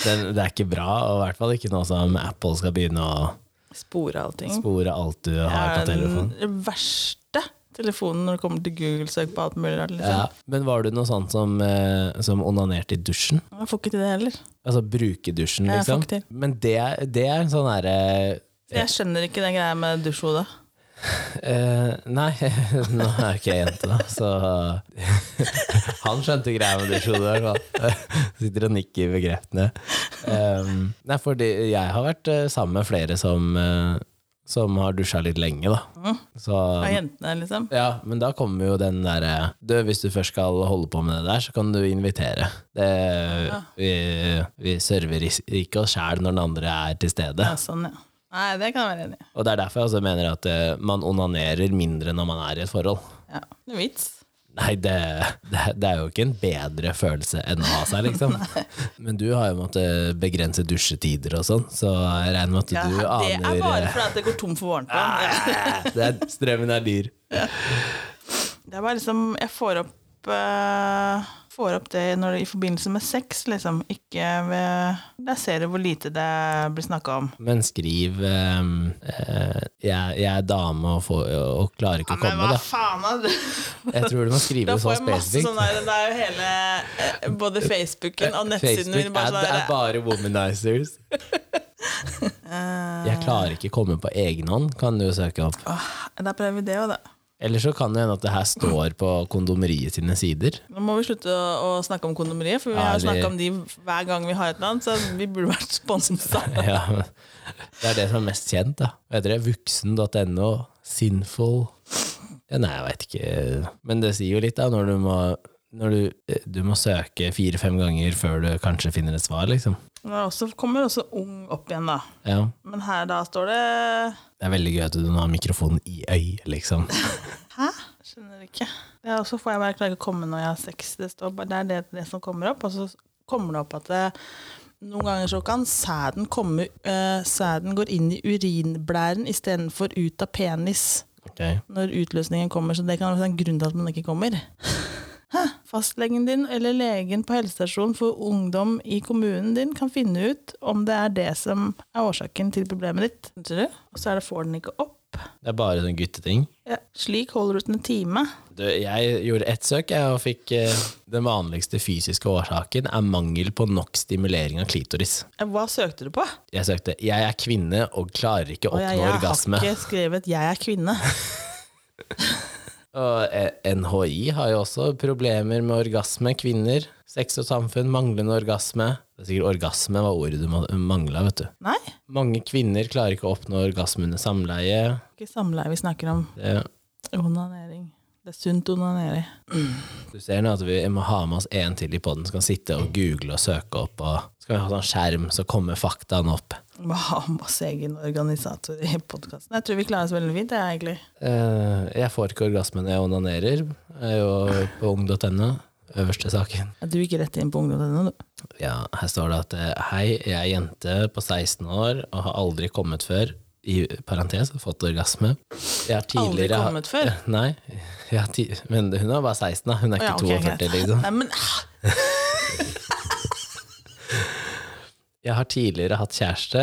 Speaker 1: Den, det er ikke bra, og i hvert fall ikke nå som Apple skal begynne å
Speaker 2: Spore allting.
Speaker 1: spore alt du har på
Speaker 2: Det er
Speaker 1: telefonen.
Speaker 2: Den verste telefonen når det kommer til Google-søk på alt mulig rart. Liksom.
Speaker 1: Ja. Men var du noe sånt som, eh, som onanerte i dusjen?
Speaker 2: Jeg får ikke til det heller.
Speaker 1: Altså bruke dusjen,
Speaker 2: Ja,
Speaker 1: liksom?
Speaker 2: faktisk.
Speaker 1: Men det, er- det er en sånn herre
Speaker 2: Jeg skjønner ikke den greia med dusjhodet.
Speaker 1: Eh, nei, nå er jo ikke jeg jente, da, så Han skjønte greia med dusjhodet, i hvert fall. Sitter og nikker bekreftende. Um, nei, fordi jeg har vært eh, sammen med flere som, eh, som har dusja litt lenge, da.
Speaker 2: Mm.
Speaker 1: Så
Speaker 2: Av jentene, liksom.
Speaker 1: ja, men da kommer jo den derre Du, hvis du først skal holde på med det der, så kan du invitere. Det, vi, vi server is- ikke oss sjæl når den andre er til stede.
Speaker 2: Ja, sånn, ja. Nei, det kan jeg være enig i.
Speaker 1: Og det er derfor jeg også mener at eh, man onanerer mindre når man er i et forhold.
Speaker 2: Ja. Noe vits.
Speaker 1: Nei, det, det, det er jo ikke en bedre følelse enn å ha seg, liksom. Men du har jo måttet begrense dusjetider og sånn, så jeg regner med at
Speaker 2: Ja,
Speaker 1: du
Speaker 2: det
Speaker 1: aner
Speaker 2: er bare sånn. fordi at det går tom for våren.
Speaker 1: eh, det er, Strømmen er dyr.
Speaker 2: Det er bare liksom Jeg får opp eh, Får opp det når, det- i forbindelse med sex, liksom. Ikke ved Der ser du hvor lite det blir snakka om.
Speaker 1: Men skriv eh, eh, jeg, 'jeg er dame og, får, og klarer ikke å komme', da.
Speaker 2: faen, altså?
Speaker 1: Jeg tror du må skrive
Speaker 2: Da
Speaker 1: det så
Speaker 2: får jeg masse
Speaker 1: spesifikt.
Speaker 2: sånn der, det er jo hele eh, Både Facebooken og nettsiden
Speaker 1: Facebook
Speaker 2: min bare
Speaker 1: er,
Speaker 2: sånn
Speaker 1: er
Speaker 2: der,
Speaker 1: bare womanizers. Jeg klarer ikke å komme på egen hånd, kan du søke opp.
Speaker 2: «Åh, Da prøver vi det òg, da.
Speaker 1: Eller så kan det hende at det her står på kondomeriet sine sider.
Speaker 2: Nå må vi slutte å, å snakke om kondomeriet, for vi
Speaker 1: Ja,
Speaker 2: har
Speaker 1: vi-
Speaker 2: snakka om de hver gang vi har et eller annet, så vi burde vært sponsa.
Speaker 1: Ja, men det er det som er mest kjent, da. Hva heter det? Vuksen.no. Sinful. Ja, nei, jeg veit ikke. Men det sier jo litt, da, når du må når du, eh, du må søke fire-fem ganger før du kanskje finner et svar, liksom.
Speaker 2: Nå er også- kommer også Ung opp igjen, da.
Speaker 1: Ja.
Speaker 2: Men her da står det
Speaker 1: Det er veldig gøy at du nå har mikrofonen i øyet, liksom.
Speaker 2: Hæ? Skjønner ikke. Det er også får jeg bare klare å komme når jeg har sex. Det, står bare, det er det, det som kommer opp. Og så kommer det opp at det, noen ganger så kan sæden komme eh, Sæden går inn i urinblæren istedenfor ut av penis
Speaker 1: Ok.
Speaker 2: når utløsningen kommer. Så det kan være en grunn til at man ikke kommer. Hæ? Fastlegen din eller legen på helsestasjonen for ungdom i kommunen din kan finne ut om det er det som er årsaken til problemet ditt. Skjønner du? Og så er det får den ikke opp.
Speaker 1: Det er bare sånn gutteting.
Speaker 2: Ja. Slik holder du ut en time.
Speaker 1: Du, jeg gjorde ett søk, jeg, og fikk eh, den vanligste fysiske årsaken er mangel på nok stimulering av klitoris.
Speaker 2: Hva søkte du på?
Speaker 1: Jeg søkte 'Jeg er kvinne og klarer ikke å
Speaker 2: Og
Speaker 1: oppnå
Speaker 2: jeg, jeg
Speaker 1: orgasme'.
Speaker 2: har ikke skrevet 'jeg er kvinne'.
Speaker 1: Og eh, NHI har jo også problemer med orgasme. Kvinner, sex og samfunn, manglende orgasme. Det er sikkert orgasme var ordet du ma- mangla, vet du.
Speaker 2: Nei,
Speaker 1: Mange kvinner klarer ikke å oppnå orgasme under samleie.
Speaker 2: ikke samleie vi snakker om.
Speaker 1: Det,
Speaker 2: Onanering. Det er sunt å onanere.
Speaker 1: du ser nå at vi må ha med oss en til i poden som kan sitte og google og søke opp. Og skal vi ha sånn skjerm, så kommer faktaene opp.
Speaker 2: Må ha med oss egen organisator i podkasten. Jeg tror vi klarer oss veldig fint, jeg, egentlig.
Speaker 1: Eh, jeg får ikke orgasme når jeg onanerer. Jeg er jo på ung.no. E, Øverste saken.
Speaker 2: Du gikk rett inn på ungdommen, du.
Speaker 1: Ja, her står det at eh, Hei, jeg er jente på 16 år og har aldri kommet før i parentes, fått orgasme. Jeg har
Speaker 2: Aldri
Speaker 1: tidligere Eh,
Speaker 2: kommet før?
Speaker 1: Nei. Jeg har ti men hun er bare 16, da. Hun er ikke
Speaker 2: Ja, ok,
Speaker 1: 42,
Speaker 2: greit.
Speaker 1: liksom.
Speaker 2: Nei, men ah,
Speaker 1: Jeg har tidligere hatt kjæreste,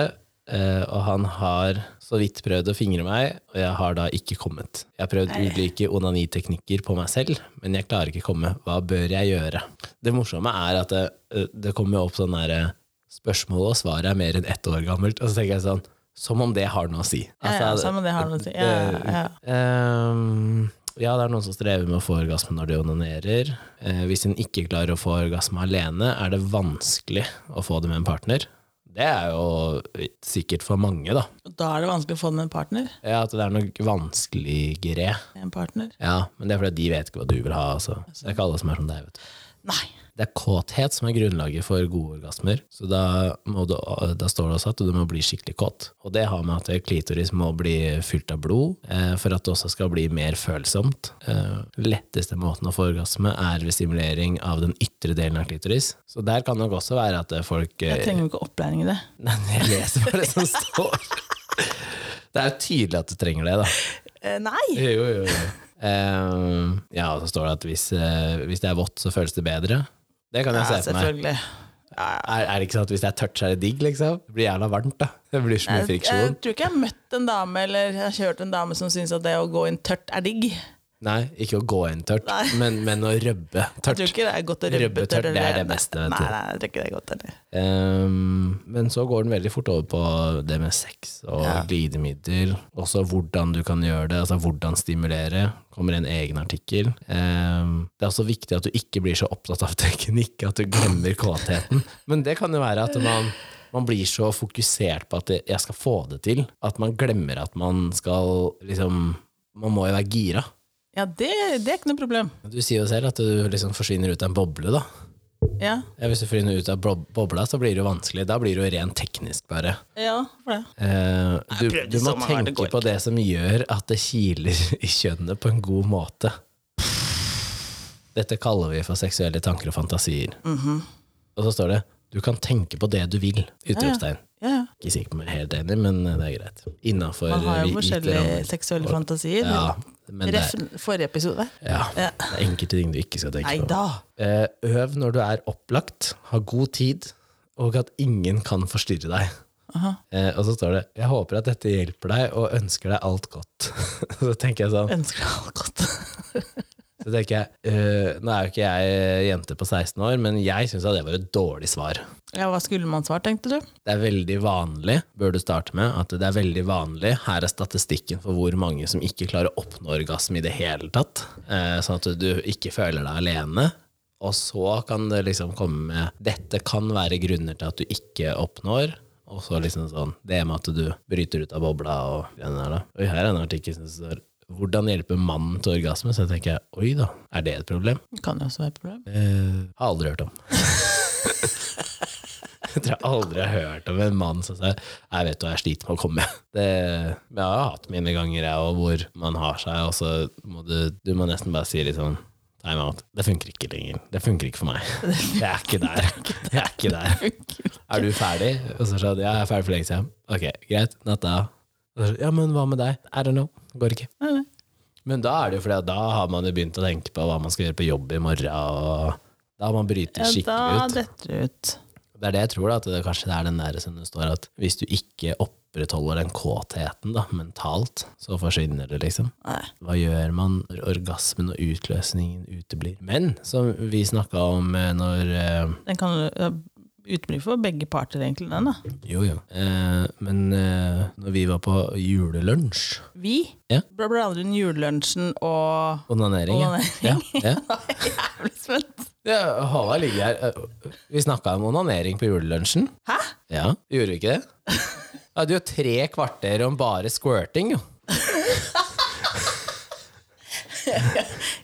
Speaker 1: eh, og han har så vidt prøvd å fingre meg, og jeg har da ikke kommet. Jeg har prøvd ulike onaniteknikker på meg selv, men jeg klarer ikke komme. Hva bør jeg gjøre? Det morsomme er at det, eh, det kommer jo opp sånn derre Spørsmålet og svaret er mer enn ett år gammelt, og så tenker jeg sånn Som om det har noe å si. Altså,
Speaker 2: ja, samme det har noe å si. Ja, ja, ja.
Speaker 1: Ehm, ja, det er noen som strever med å få orgasme når de onanerer. Eh, hvis en ikke klarer å få orgasme alene, er det vanskelig å få det med en partner. Det er jo sikkert for mange, da.
Speaker 2: Og Da er det vanskelig å få den med en partner.
Speaker 1: Ja, At det er noe vanskeligere.
Speaker 2: En partner.
Speaker 1: Ja, men det er fordi de vet ikke hva du vil ha. Altså. Det er ikke alle som er som deg. vet du.
Speaker 2: Nei.
Speaker 1: Det er kåthet som er grunnlaget for gode orgasmer. Så da, må du, da står det også at du må bli skikkelig kåt. Og det har med at klitoris må bli fylt av blod eh, for at det også skal bli mer følsomt. Eh, letteste måten å få orgasme er ved stimulering av den ytre delen av klitoris. Så der kan det nok også være at eh, folk eh,
Speaker 2: Jeg trenger jo ikke opplæring i det.
Speaker 1: Nei, jeg leser bare det som står. Det er jo tydelig at du trenger det, da.
Speaker 2: Eh, nei!
Speaker 1: Jo, jo, jo. Ehm, ja, og så står det at hvis, eh, hvis det er vått, så føles det bedre. Det kan jeg
Speaker 2: Ja,
Speaker 1: se for meg.
Speaker 2: selvfølgelig.
Speaker 1: Er, er det ikke sant at hvis det er tørt, så er det digg, liksom? Det blir jævla varmt, da. Det blir så mye
Speaker 2: Jeg, jeg
Speaker 1: friksjon.
Speaker 2: tror ikke jeg har møtt en dame eller jeg har kjørt en dame som syns at det å gå inn tørt er digg. Jeg
Speaker 1: Nei, ikke å gå inn tørt,
Speaker 2: Nei.
Speaker 1: men, men å rubbe
Speaker 2: tror
Speaker 1: tørt.
Speaker 2: ikke det er godt å rubbe
Speaker 1: Rubbe tørt,
Speaker 2: tørt.
Speaker 1: det er
Speaker 2: eller-
Speaker 1: det beste, vet
Speaker 2: Nei,
Speaker 1: du.
Speaker 2: nei, jeg tror ikke det er godt heller.
Speaker 1: Ehm, men så går den veldig fort over på det med sex og
Speaker 2: Ja.
Speaker 1: glidemiddel. Også hvordan du kan gjøre det, altså hvordan stimulere. Kommer en egen artikkel. Ehm, det er også viktig at du ikke blir så opptatt av teknikk at du glemmer kåtheten. Men det kan jo være at man, man blir så fokusert på at det- jeg skal få det til, at man glemmer at man skal liksom Man må jo være gira.
Speaker 2: Ja, det, det er ikke noe problem.
Speaker 1: Du sier jo selv at du liksom forsvinner ut av en boble, da.
Speaker 2: Ja,
Speaker 1: Ja, hvis du forsvinner ut av bro- bobla, så blir det jo vanskelig. Da blir det jo rent teknisk, bare.
Speaker 2: ja for det.
Speaker 1: Eh, du,
Speaker 2: prøvde
Speaker 1: du
Speaker 2: i
Speaker 1: må
Speaker 2: sommer, men det
Speaker 1: tenke
Speaker 2: går
Speaker 1: på det som gjør at det kiler i kjønnet på en god måte. Dette kaller vi for seksuelle tanker og fantasier.
Speaker 2: Mhm.
Speaker 1: Og så står det 'du kan tenke på det du vil'. Utropstegn.
Speaker 2: Ja, ja.
Speaker 1: Ikke sikker på om jeg er helt enig, men eh, det er greit. eh, Innafor
Speaker 2: Man har jo forskjellige seksuelle fantasier.
Speaker 1: Ja, men det,
Speaker 2: Ref
Speaker 1: er-
Speaker 2: forrige episode.
Speaker 1: ja,
Speaker 2: Ja.
Speaker 1: det er enkelte ting du ikke skal tenke
Speaker 2: Nei
Speaker 1: på.
Speaker 2: da!
Speaker 1: Eh, øv når du er opplagt, ha god tid, og at ingen kan forstyrre deg.
Speaker 2: Aha.
Speaker 1: Eh, og så står det 'Jeg håper at dette hjelper deg, og ønsker deg alt godt'. så tenker jeg sånn
Speaker 2: Ønsker deg alt godt.
Speaker 1: så tenker jeg, eh, Nå er jo ikke jeg jente på 16 år, men jeg syns det var et dårlig svar.
Speaker 2: Ja, hva skulle man svart, tenkte du?
Speaker 1: Det er veldig vanlig, bør du starte med, at det er veldig vanlig. Her er statistikken for hvor mange som ikke klarer å oppnå orgasme i det hele tatt. Eh, sånn at du ikke føler deg alene. Og så kan det liksom komme med Dette kan være grunner til at du ikke oppnår. Og så liksom sånn Det med at du bryter ut av bobla og den der, da. Oi, her er en artikkel som står hvordan hjelpe mannen til orgasme? Så jeg tenker jeg, oi da, er det et problem?
Speaker 2: Det kan jo også være et problem.
Speaker 1: Eh, har aldri hørt om. jeg tror jeg aldri har hørt om en mann som sier Jeg vet hva jeg sliter med å komme. Det, men jeg har hatt mine ganger, jeg òg, hvor man har seg, og så må du, du må nesten bare si litt sånn Time out. Det funker ikke lenger. Det funker ikke for meg. Jeg er ikke der. Jeg er ikke der. Er du ferdig? Og så sa de ja, jeg er ferdig for lenge siden. Ok, greit. Natta. Og så, Ja, men hva med deg? I don't know. Går ikke.
Speaker 2: Nei, nei.
Speaker 1: Men da er det jo fordi at da har man jo begynt å tenke på hva man skal gjøre på jobb i morgen. Og da har man brytet
Speaker 2: Ja, da
Speaker 1: skikkelig ut.
Speaker 2: detter det ut.
Speaker 1: Det er det jeg tror, da, at det kanskje det er den der som det står at hvis du ikke opprettholder den kåtheten da, mentalt, så forsvinner det, liksom.
Speaker 2: Nei.
Speaker 1: Hva gjør man når orgasmen og utløsningen uteblir? Men som vi snakka om eh, når eh,
Speaker 2: Den kan ja, utebli for begge parter, egentlig, den, da.
Speaker 1: Jo, jo. Eh, men eh, når vi var på julelunsj
Speaker 2: Vi
Speaker 1: Ja.
Speaker 2: bla- blander inn julelunsjen og
Speaker 1: Onanering, ja. ja.
Speaker 2: Onanering.
Speaker 1: ja.
Speaker 2: Jeg er Jævlig spent!
Speaker 1: Ja, Håvard ligger her. Eh, Vi snakka om onanering på julelunsjen.
Speaker 2: Hæ?
Speaker 1: Ja, Gjorde vi ikke det? Ja, du har tre kvarter om bare squirting, jo.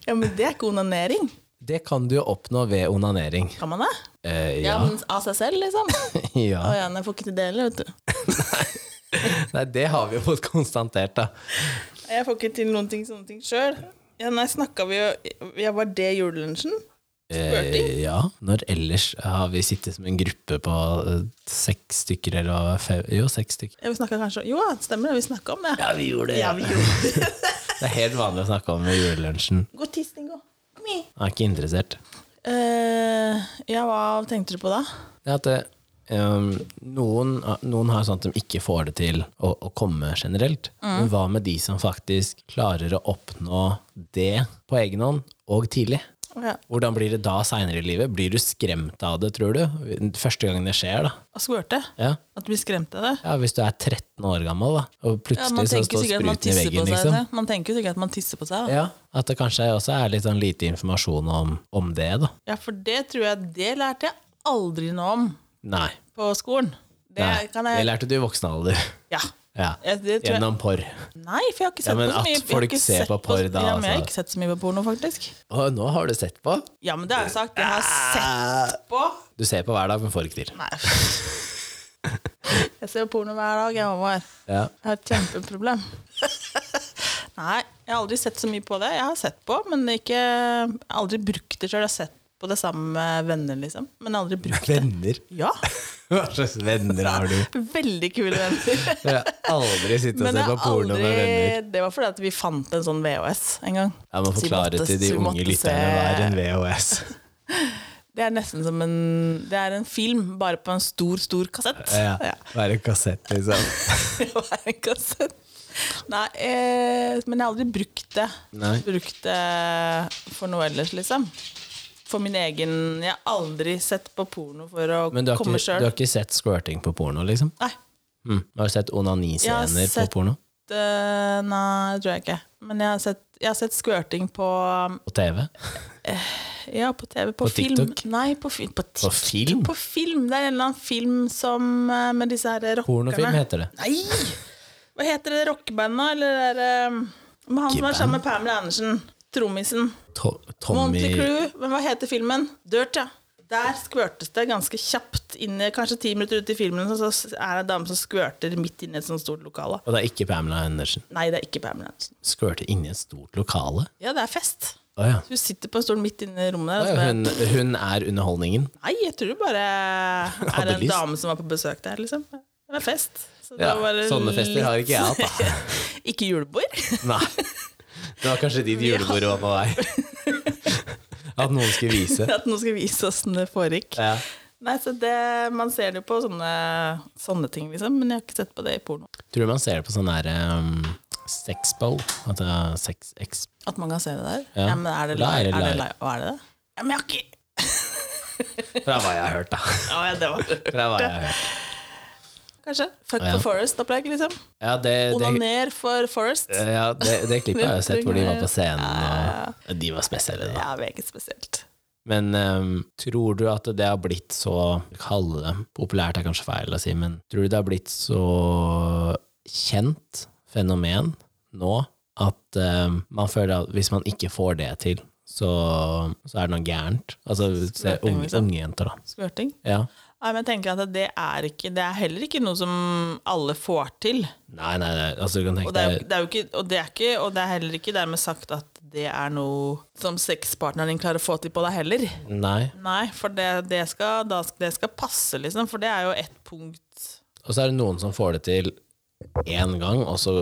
Speaker 2: Ja, men det er ikke onanering.
Speaker 1: Det kan du jo oppnå ved onanering.
Speaker 2: Kan man det?
Speaker 1: Eh,
Speaker 2: Ja,
Speaker 1: ja.
Speaker 2: men Av seg selv, liksom? Å
Speaker 1: ja.
Speaker 2: ja, nei, jeg får ikke til det heller, vet du.
Speaker 1: Nei, det har vi jo fått konstatert, da.
Speaker 2: Jeg får ikke til noen ting, sånne ting sjøl. Ja, nei, snakka vi jo ja, Var det julelunsjen? Squirting?
Speaker 1: Eh, ja. Når ellers har vi sittet som en gruppe på eh, seks stykker, eller hva? Fem, jo, seks stykker.
Speaker 2: Ja, vi snakket kanskje Jo, ja, det stemmer det, vi snakka om det.
Speaker 1: Ja, vi gjorde det.
Speaker 2: Ja, vi gjorde det.
Speaker 1: Det er helt vanlig å snakke om ved julelunsjen.
Speaker 2: Gå tiss, Dingo. Kom igjen.
Speaker 1: Jeg er ikke interessert.
Speaker 2: Eh, ja, hva tenkte du på da?
Speaker 1: Det er at eh, um, noen, noen har sånn at de ikke får det til å, å komme generelt.
Speaker 2: Mm.
Speaker 1: Men hva med de som faktisk klarer å oppnå det på egen hånd, og tidlig?
Speaker 2: Ja.
Speaker 1: Hvordan blir det da seinere i livet? Blir du skremt av det, tror du? Første gangen det skjer, da.
Speaker 2: Og squirte?
Speaker 1: Ja.
Speaker 2: At du blir skremt av det?
Speaker 1: ja, Hvis du er 13 år gammel, da, og
Speaker 2: Ja,
Speaker 1: plutselig
Speaker 2: man
Speaker 1: så
Speaker 2: tenker
Speaker 1: står
Speaker 2: sikkert at man
Speaker 1: spruten i
Speaker 2: tisser på
Speaker 1: veggen,
Speaker 2: seg.
Speaker 1: liksom.
Speaker 2: det. Man tenker jo sikkert at man tisser på seg. Da.
Speaker 1: Ja, At det kanskje også er litt sånn lite informasjon om, om det, da.
Speaker 2: Ja, for det tror jeg det lærte jeg aldri noe om
Speaker 1: Nei.
Speaker 2: på skolen. Det
Speaker 1: Nei.
Speaker 2: kan
Speaker 1: Det
Speaker 2: jeg
Speaker 1: lærte du i voksen alder.
Speaker 2: Ja.
Speaker 1: Ja.
Speaker 2: Jeg- Det tror jeg.
Speaker 1: Gjennom porr.
Speaker 2: Nei, for jeg har ikke sett
Speaker 1: Ja, men
Speaker 2: på så
Speaker 1: at
Speaker 2: mye. jeg har
Speaker 1: folk
Speaker 2: ikke
Speaker 1: ser
Speaker 2: sett
Speaker 1: på porr da,
Speaker 2: Ja, men jeg har
Speaker 1: altså.
Speaker 2: ikke sett så mye på porno, faktisk.
Speaker 1: Å, nå har du sett på?
Speaker 2: Ja, men det har jeg sagt. Jeg har sett på
Speaker 1: Du ser på hver dag, men får ikke til.
Speaker 2: Nei. Jeg ser på porno hver dag, jeg, Håvard.
Speaker 1: Ja.
Speaker 2: Jeg har et kjempeproblem. Nei, jeg har aldri sett så mye på det. Jeg har sett på, men ikke, jeg har aldri brukt det sjøl. Jeg har sett på det sammen med venner, liksom. Men jeg har aldri brukt det.
Speaker 1: Venner?
Speaker 2: Ja,
Speaker 1: Hva slags venner har du?
Speaker 2: Veldig kule venner.
Speaker 1: Jeg har aldri sittet og
Speaker 2: Men jeg
Speaker 1: sett på
Speaker 2: har
Speaker 1: porno med venner.
Speaker 2: aldri Det var fordi at vi fant en sånn VHS en gang.
Speaker 1: Jeg må
Speaker 2: Så vi
Speaker 1: forklare
Speaker 2: måtte-
Speaker 1: til de
Speaker 2: så vi
Speaker 1: unge
Speaker 2: måtte
Speaker 1: lytterne hva er en VHS.
Speaker 2: eh, Det er nesten som en Det er en film, bare på en stor, stor kassett.
Speaker 1: Ja. Hva er en kassett, liksom?
Speaker 2: Det var en kassett. Nei, eh, men jeg har aldri brukt det.
Speaker 1: Nei.
Speaker 2: Brukt det for noe ellers, liksom. For min egen Jeg har aldri sett på porno for å
Speaker 1: Men du har,
Speaker 2: komme
Speaker 1: ikke, du
Speaker 2: sjøl.
Speaker 1: har ikke sett squirting på porno, liksom?
Speaker 2: Nei,
Speaker 1: Mm. Har du sett
Speaker 2: Jeg har
Speaker 1: onaniscener på
Speaker 2: sett-
Speaker 1: porno?
Speaker 2: det, nei, det tror jeg ikke. Men jeg har sett, jeg har sett squirting på
Speaker 1: På TV?
Speaker 2: Ja, på TV. På,
Speaker 1: På
Speaker 2: film.
Speaker 1: TikTok?
Speaker 2: Nei, på, fi- på,
Speaker 1: På
Speaker 2: TikTok.
Speaker 1: film?
Speaker 2: på film. Det er en eller annen film som eh, Med disse her rockerne.
Speaker 1: Pornofilm heter det.
Speaker 2: Nei! Hva heter det rockebandet, eller det der, eh, med han som er sammen med Pamela Andersen? Trommisen.
Speaker 1: To
Speaker 2: Monty
Speaker 1: Tommy
Speaker 2: Crew. Men hva heter filmen? Dirt, ja. Der skvørtes det ganske kjapt inn i Kanskje ti minutter ut i filmen, så så er det en dame som skvørter midt inne i et sånt stort lokale.
Speaker 1: Og det er ikke Pamela Andersen.
Speaker 2: Nei, det er ikke Pamela Andersen.
Speaker 1: Squirte inni et stort lokale.
Speaker 2: Ja, det er fest.
Speaker 1: Å ja.
Speaker 2: Hun sitter på en stol midt inne i rommet der. og så
Speaker 1: Ja,
Speaker 2: bare-
Speaker 1: Hun, hun er underholdningen.
Speaker 2: Nei, jeg tror det bare er
Speaker 1: Hadde
Speaker 2: en
Speaker 1: lyst.
Speaker 2: dame som var på besøk der, liksom. Det var fest. Så det
Speaker 1: Ja,
Speaker 2: var
Speaker 1: sånne fester har ikke jeg hatt, da.
Speaker 2: litt- Ikke julebord.
Speaker 1: Nei. Det var kanskje ditt julebord var på vei. At noen skulle vise.
Speaker 2: At noen skal vise oss hvordan det foregikk.
Speaker 1: Ja.
Speaker 2: Nei, så det, Man ser det jo på sånne, sånne ting, liksom, men jeg har ikke sett på det i porno.
Speaker 1: Tror du man ser det på sånn der um, sexbowl? At det er sex ex...
Speaker 2: At man kan se det der?
Speaker 1: Ja.
Speaker 2: Ja, men er det
Speaker 1: Da er det
Speaker 2: live? Er det
Speaker 1: live.
Speaker 2: live? Å, er det det? Ja, men jeg har ikke
Speaker 1: Fra hva jeg har hørt, da.
Speaker 2: Å, ja, det var
Speaker 1: Fra hva jeg har hørt.
Speaker 2: Kanskje. Fuck
Speaker 1: Ja.
Speaker 2: for Forest-opplegg, liksom.
Speaker 1: Ja, det, det,
Speaker 2: Onaner for Forest.
Speaker 1: ja, det, det klippet har jeg sett hvor de var på scenen, og de var spesielle, da.
Speaker 2: Det er meget spesielt.
Speaker 1: Men ehm, tror du at det har blitt så Kalle det populært er kanskje feil å si, men tror du det har blitt så kjent fenomen nå at ehm, man føler at hvis man ikke får det til, så, så er det noe gærent? Altså se
Speaker 2: Smerting,
Speaker 1: unge,
Speaker 2: liksom.
Speaker 1: unge jenter, da.
Speaker 2: Skvørting.
Speaker 1: Ja.
Speaker 2: Nei, men jeg tenker at det er, ikke, det er heller ikke noe som alle får til.
Speaker 1: Nei, nei, nei, altså du kan tenke
Speaker 2: Og det er, jo-
Speaker 1: deg
Speaker 2: det er jo ikke, og det er ikke Og det er heller ikke dermed sagt at det er noe som sexpartneren din klarer å få til på deg heller.
Speaker 1: Nei.
Speaker 2: Nei, for det, det, skal, da, sk- det skal passe, liksom. For det er jo ett punkt
Speaker 1: Og så er det noen som får det til én gang, og så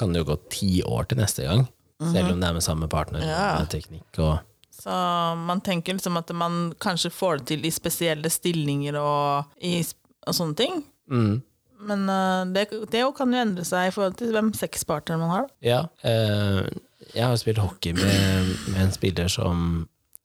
Speaker 1: kan det jo gå ti år til neste gang. Selv om det er med samme partner
Speaker 2: Mhm. Ja.
Speaker 1: med teknikk og
Speaker 2: Så man tenker liksom at man kanskje får det til i spesielle stillinger og, i, sp- og sånne ting.
Speaker 1: mm.
Speaker 2: Men øh, det, det jo kan jo endre seg i forhold til hvem sexpartneren man har.
Speaker 1: Ja, eh, jeg har spilt hockey med, med en spiller som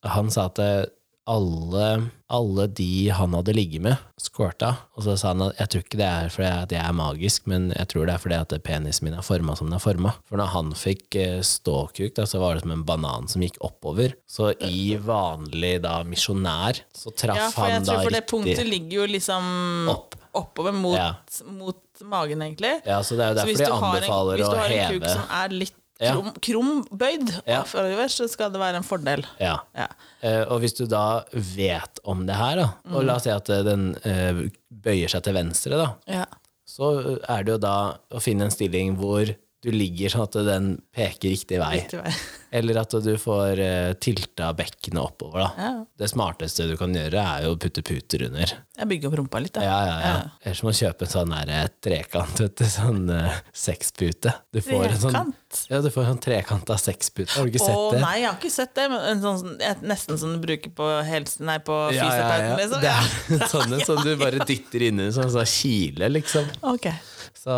Speaker 1: Han sa at eh, alle, alle de han hadde ligget med, squirta. Og så sa han at jeg tror ikke det er fordi at jeg er magisk, men jeg tror det er fordi at penisen min er forma som den er forma. For når han fikk eh, ståkuk, da, så var det som en banan som gikk oppover. Så i vanlig da misjonær, så traff
Speaker 2: Ja, for jeg
Speaker 1: han da
Speaker 2: tror for det
Speaker 1: riktig
Speaker 2: punktet ligger jo liksom
Speaker 1: opp.
Speaker 2: oppover mot,
Speaker 1: Ja.
Speaker 2: mot magen, egentlig.
Speaker 1: Ja, så det er jo
Speaker 2: Så
Speaker 1: derfor
Speaker 2: hvis du
Speaker 1: de
Speaker 2: har en,
Speaker 1: anbefaler
Speaker 2: hvis du
Speaker 1: å
Speaker 2: har en kuk
Speaker 1: heve
Speaker 2: som er litt
Speaker 1: Ja.
Speaker 2: krum, krumbøyd,
Speaker 1: Ja.
Speaker 2: forover, så skal det være en fordel.
Speaker 1: ja.
Speaker 2: Ja.
Speaker 1: Eh, og hvis du da vet om det her, da, og la oss si at eh, den eh, bøyer seg til venstre, da,
Speaker 2: Ja.
Speaker 1: så eh, er det jo da å finne en stilling hvor du ligger sånn at den peker riktig vei.
Speaker 2: Riktig vei.
Speaker 1: Eller at du får eh, tilta bekkenet oppover. da.
Speaker 2: Ja.
Speaker 1: Det smarteste du kan gjøre, er jo å putte puter under.
Speaker 2: Jeg bygger opp rumpa litt, da.
Speaker 1: Ja, ja, ja. Ellers må du kjøpe en sånn der, eh, trekant, vet du. Sånn eh, sekspute. Du får en sånn,
Speaker 2: Trekant?
Speaker 1: ja, du får en sånn trekanta sekspute. Har du ikke
Speaker 2: Å
Speaker 1: sett det?
Speaker 2: nei, jeg har ikke sett det. Men en sånn, et, nesten som du bruker på helse... Nei, på
Speaker 1: Ja, ja, ja.
Speaker 2: fysioterapeuten, liksom.
Speaker 1: Det
Speaker 2: Ja.
Speaker 1: er sånne som du bare dytter inn sånn i, sånn som kile, liksom.
Speaker 2: Ok.
Speaker 1: Så,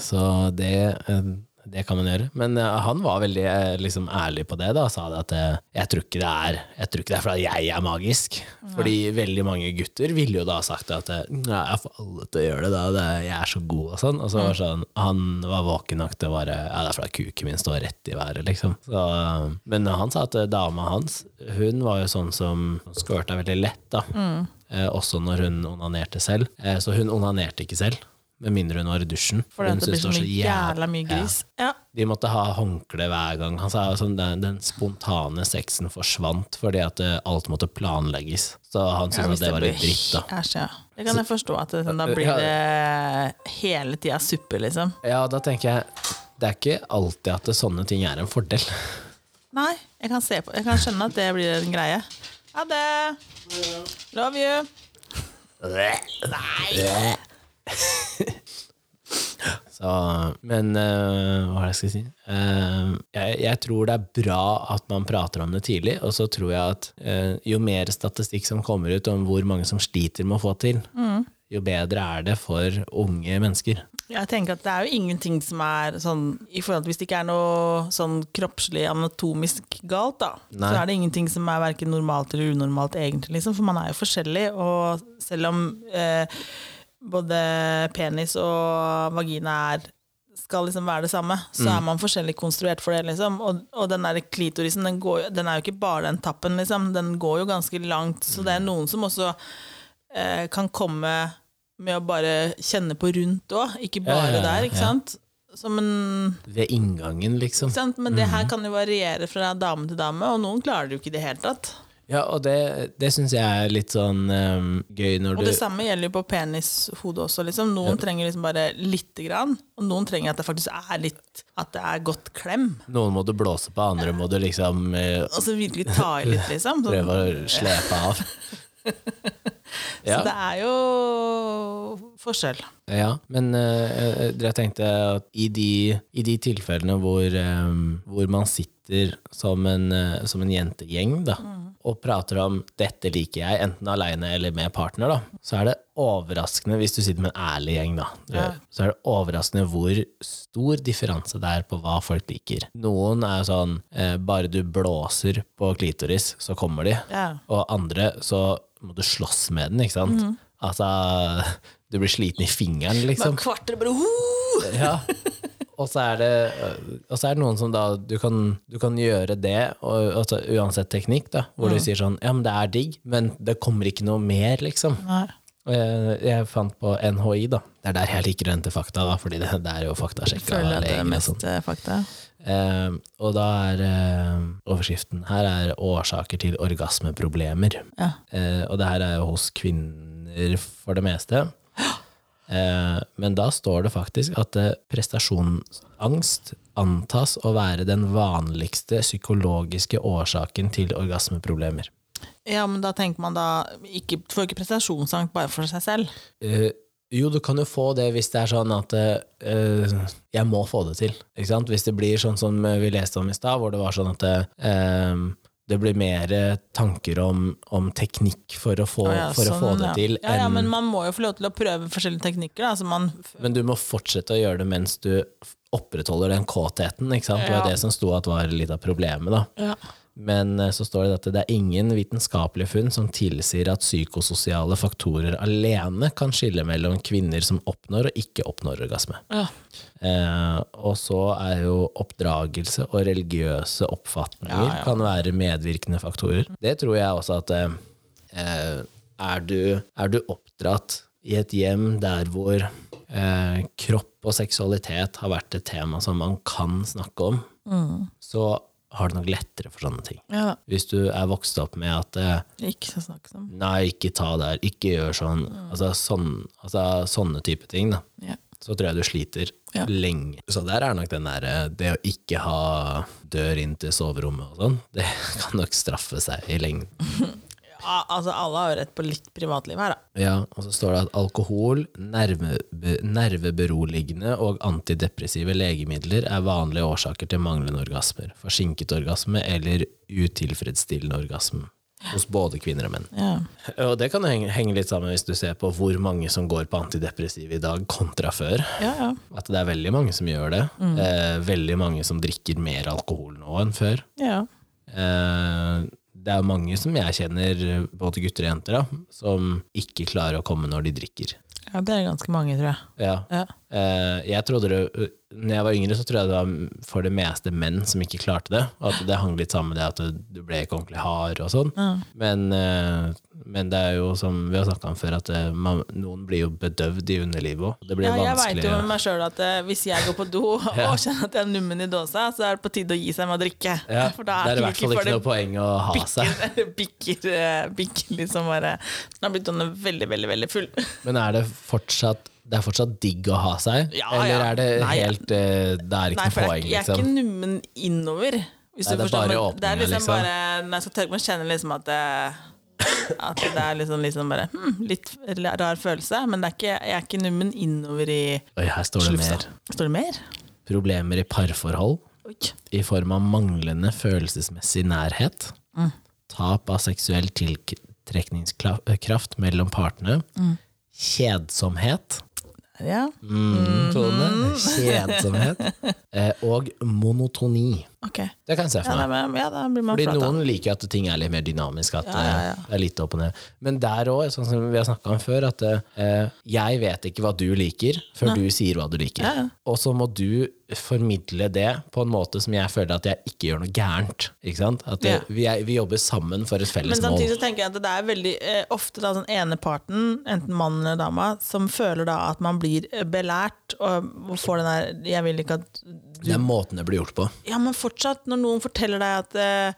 Speaker 1: så det, eh, det kan man gjøre. Men eh, han var veldig eh, liksom, ærlig på det, da. Sa det at eh, jeg tror ikke det er Jeg tror ikke det er fordi jeg er magisk. Fordi veldig mange gutter ville jo da ha sagt at eh, Nei, jeg får alle til å gjøre det, da. Det, er- jeg er så god og sånn. Og så var det sånn, han var våken nok til å bare Ja, det er fordi kuken min står rett i været, liksom. Så, eh, men han sa at eh, dama hans, hun var jo sånn som squirta veldig lett, da. Eh, også når hun onanerte selv. Eh, så hun onanerte ikke selv. Med mindre hun var i dusjen.
Speaker 2: For det,
Speaker 1: Hun
Speaker 2: at det blir
Speaker 1: syntes
Speaker 2: så
Speaker 1: var
Speaker 2: mye jævla mye
Speaker 1: Ja.
Speaker 2: gris. Ja.
Speaker 1: De måtte ha håndkle hver gang. Han sa sånn, den, den spontane sexen forsvant fordi at eh, alt måtte planlegges. Så han
Speaker 2: Ja,
Speaker 1: syntes at
Speaker 2: hvis
Speaker 1: det var
Speaker 2: blir-
Speaker 1: litt dritt, da.
Speaker 2: Æsj, ja. Det kan jeg forstå, at det, da blir
Speaker 1: Ja.
Speaker 2: det hele tida suppe, liksom.
Speaker 1: Ja, da tenker jeg det er ikke alltid at det, sånne ting er en fordel.
Speaker 2: Nei, jeg kan, se på. jeg kan skjønne at det blir en greie. Ha det! Love you!
Speaker 1: Nei! Så, men eh, hva er det jeg skal si? Eh, jeg, jeg tror det er bra at man prater om det tidlig, og så tror jeg at eh, jo mer statistikk som kommer ut om hvor mange som sliter med å få til, jo bedre er det for unge mennesker.
Speaker 2: Jeg tenker at det er jo ingenting som er sånn i forhold til Hvis det ikke er noe sånn kroppslig anatomisk galt, da,
Speaker 1: Nei.
Speaker 2: så er det ingenting som er verken normalt eller unormalt, egentlig, liksom, for man er jo forskjellig, og selv om eh, både penis og vagina er skal liksom være det samme, så
Speaker 1: Mm.
Speaker 2: er man forskjellig konstruert for det. liksom Og, og den der klitorisen den, går, jo- den er jo ikke bare den tappen, liksom. Den går jo ganske langt. Så
Speaker 1: Mm.
Speaker 2: det er noen som også eh, kan komme med å bare kjenne på rundt òg, ikke bare
Speaker 1: Ja, ja, ja,
Speaker 2: der, ikke
Speaker 1: ja.
Speaker 2: sant? Som en
Speaker 1: Ved inngangen, liksom.
Speaker 2: ikke sant? Men det her kan jo variere fra dame til dame, og noen klarer det jo ikke i det hele tatt.
Speaker 1: Ja, og det, det syns jeg er litt sånn eh, gøy når
Speaker 2: Og
Speaker 1: du
Speaker 2: det samme gjelder jo på penishodet også. Liksom. Noen trenger liksom bare lite grann, og noen trenger at det faktisk er litt At det er godt klem.
Speaker 1: Noen må du blåse på, andre må du liksom eh,
Speaker 2: Og så virkelig ta i litt, liksom. Så,
Speaker 1: prøve å slepe av.
Speaker 2: så det er jo forskjell.
Speaker 1: Ja, men eh, eh, jeg tenkte at i de, i de tilfellene hvor, eh, hvor man sitter som en, eh, som en jentegjeng da,
Speaker 2: Mm.
Speaker 1: og prater om 'dette liker jeg', enten aleine eller med partner, da, så er det overraskende, hvis du sitter med en ærlig gjeng, da,
Speaker 2: Ja.
Speaker 1: så er det overraskende hvor stor differanse det er på hva folk liker. Noen er sånn eh, 'bare du blåser på klitoris, så kommer de'.
Speaker 2: Ja.
Speaker 1: Og andre så må du slåss med den, ikke sant?
Speaker 2: Mm.
Speaker 1: Altså, du blir sliten i fingeren,
Speaker 2: Bare
Speaker 1: liksom.
Speaker 2: kvarter bare «Hoo!»
Speaker 1: Ja. Og så, er det, øh, og så er det noen som da Du kan, du kan gjøre det, og, altså, uansett teknikk, da, hvor
Speaker 2: Mm.
Speaker 1: du sier sånn Ja, men det er digg, men det kommer ikke noe mer, liksom.
Speaker 2: Nei.
Speaker 1: Og Jeg, jeg fant på NHI, da. Det er der jeg liker å hente fakta, da, fordi det, det er jo faktasjekka.
Speaker 2: Føler at det
Speaker 1: leger
Speaker 2: er
Speaker 1: og sånn.
Speaker 2: mest eh, fakta.
Speaker 1: Eh, og da er eh, overskriften her er årsaker til orgasmeproblemer.
Speaker 2: Ja.
Speaker 1: Eh, og det her er jo hos kvinner for det meste. Eh, men da står det faktisk at eh, prestasjonsangst antas å være den vanligste psykologiske årsaken til orgasmeproblemer.
Speaker 2: ja, men da tenker man da ikke, Får ikke prestasjonsangst bare for seg selv.
Speaker 1: Eh, jo, du kan jo få det hvis det er sånn at eh, jeg må få det til. Ikke sant? Hvis det blir sånn som vi leste om i stad, hvor det var sånn at eh, det blir mer tanker om, om teknikk for å få,
Speaker 2: Å ja,
Speaker 1: for å få
Speaker 2: sånn,
Speaker 1: det
Speaker 2: ja.
Speaker 1: til,
Speaker 2: Ja, ja,
Speaker 1: enn-
Speaker 2: men man må jo få lov til å prøve forskjellige teknikker, da. Så man
Speaker 1: Men du må fortsette å gjøre det mens du f- opprettholder den kåtheten. Ikke sant? Det var
Speaker 2: Ja.
Speaker 1: det som sto at var litt av problemet. Da. Men eh, så står det at det er ingen vitenskapelige funn som tilsier at psykososiale faktorer alene kan skille mellom kvinner som oppnår og ikke oppnår orgasme.
Speaker 2: Ja.
Speaker 1: Eh, og så er jo oppdragelse og religiøse oppfatninger
Speaker 2: Ja, ja.
Speaker 1: kan være medvirkende faktorer. Det tror jeg også at eh, eh, er, du, er du oppdratt i et hjem der hvor eh, kropp og seksualitet har vært et tema som man kan snakke om, så har du nok lettere for sånne ting.
Speaker 2: ja da.
Speaker 1: Hvis du er vokst opp med at eh,
Speaker 2: Ikke så snakkes om.
Speaker 1: nei, ikke ta der, ikke gjør sånn, altså, sånn altså, sånne type ting, da
Speaker 2: Ja.
Speaker 1: så tror jeg du sliter
Speaker 2: Ja.
Speaker 1: lenge. Så der er nok den derre det å ikke ha dør inn til soverommet og sånn, det kan nok straffe seg i lengden.
Speaker 2: Ja, altså, alle har jo rett på litt privatliv her, da.
Speaker 1: Ja, og så står det at alkohol, nerve, be- nerveberoligende og antidepressive legemidler er vanlige årsaker til manglende orgasmer, forsinket orgasme eller utilfredsstillende orgasme. hos både kvinner og menn.
Speaker 2: Ja.
Speaker 1: Og det kan jo henge, henge litt sammen hvis du ser på hvor mange som går på antidepressiv i dag kontra før.
Speaker 2: Ja, ja.
Speaker 1: At det er veldig mange som gjør det. Eh, veldig mange som drikker mer alkohol nå enn før.
Speaker 2: ja.
Speaker 1: Eh, det er mange som jeg kjenner, både gutter og jenter, da, som ikke klarer å komme når de drikker.
Speaker 2: ja det er ganske mange, tror jeg.
Speaker 1: Ja.
Speaker 2: Ja.
Speaker 1: Eh, jeg trodde det, når jeg var yngre, så trodde jeg det var for det meste menn som ikke klarte det. Og at det hang litt sammen med det at du- du ble ikke ordentlig hard og sånn.
Speaker 2: Ja.
Speaker 1: Men, eh, men det er jo som vi har snakka om før, at eh, man, noen blir jo bedøvd i underlivet òg. Det blir
Speaker 2: Ja, jeg veit
Speaker 1: vanskelig.
Speaker 2: jo med meg sjøl at eh, hvis jeg går på do
Speaker 1: Ja.
Speaker 2: og kjenner at jeg er nummen i dåsa, så er det på tide å gi seg med å drikke.
Speaker 1: ja,
Speaker 2: For
Speaker 1: det
Speaker 2: da
Speaker 1: er
Speaker 2: er
Speaker 1: i
Speaker 2: det
Speaker 1: hvert fall
Speaker 2: ikke
Speaker 1: ikke
Speaker 2: for
Speaker 1: noe
Speaker 2: det
Speaker 1: poeng å ha seg.
Speaker 2: bikker, bikker, eh, bikker liksom bare Nå har blitt Donne veldig, veldig, veldig full.
Speaker 1: Men er det fortsatt det er fortsatt digg å ha seg,
Speaker 2: Ja,
Speaker 1: eller
Speaker 2: ja.
Speaker 1: er det
Speaker 2: Nei, ja.
Speaker 1: helt eh, Det er ikke
Speaker 2: Nei, for
Speaker 1: noe poeng,
Speaker 2: jeg, jeg er
Speaker 1: liksom?
Speaker 2: ikke nummen innover. Hvis
Speaker 1: Nei, det
Speaker 2: du
Speaker 1: er bare
Speaker 2: forstår, men Det er
Speaker 1: åpningen,
Speaker 2: liksom,
Speaker 1: liksom.
Speaker 2: bare Når jeg skal tørke meg, kjenner jeg liksom at det, at det er liksom, liksom bare hmm, Litt rar følelse, men det er ikke, jeg er ikke nummen innover i
Speaker 1: Oi, her står det
Speaker 2: slufsa.
Speaker 1: mer.
Speaker 2: Står det mer?
Speaker 1: Problemer i parforhold.
Speaker 2: Oi.
Speaker 1: i form av manglende følelsesmessig nærhet, tap av seksuell tiltrekningskraft mellom partene, kjedsomhet
Speaker 2: Ja.
Speaker 1: mm, Tone, kjedsomhet eh, og monotoni.
Speaker 2: Ok. Ja,
Speaker 1: Det kan jeg se for
Speaker 2: da,
Speaker 1: meg.
Speaker 2: men- ja, da blir man
Speaker 1: Fordi
Speaker 2: flat. da.
Speaker 1: noen liker at ting er litt mer dynamisk, at
Speaker 2: Ja, ja, ja.
Speaker 1: eh, det er litt opp og ned. Men der òg, sånn som vi har snakka om før, at eh, jeg vet ikke hva du liker, før du sier hva du liker.
Speaker 2: Ja, ja.
Speaker 1: Og så må du formidle det på en måte som jeg føler at jeg ikke gjør noe gærent. Ikke sant? At det,
Speaker 2: Ja.
Speaker 1: vi, er, vi jobber sammen for et
Speaker 2: Men
Speaker 1: felles mål.
Speaker 2: samtidig så tenker jeg at det er veldig eh, ofte da den ene parten, enten mannen eller dama, som føler da at man blir eh, belært og får den der 'jeg vil ikke at
Speaker 1: Det er måten det blir gjort på.
Speaker 2: Ja, men fortsatt, når noen forteller deg at eh,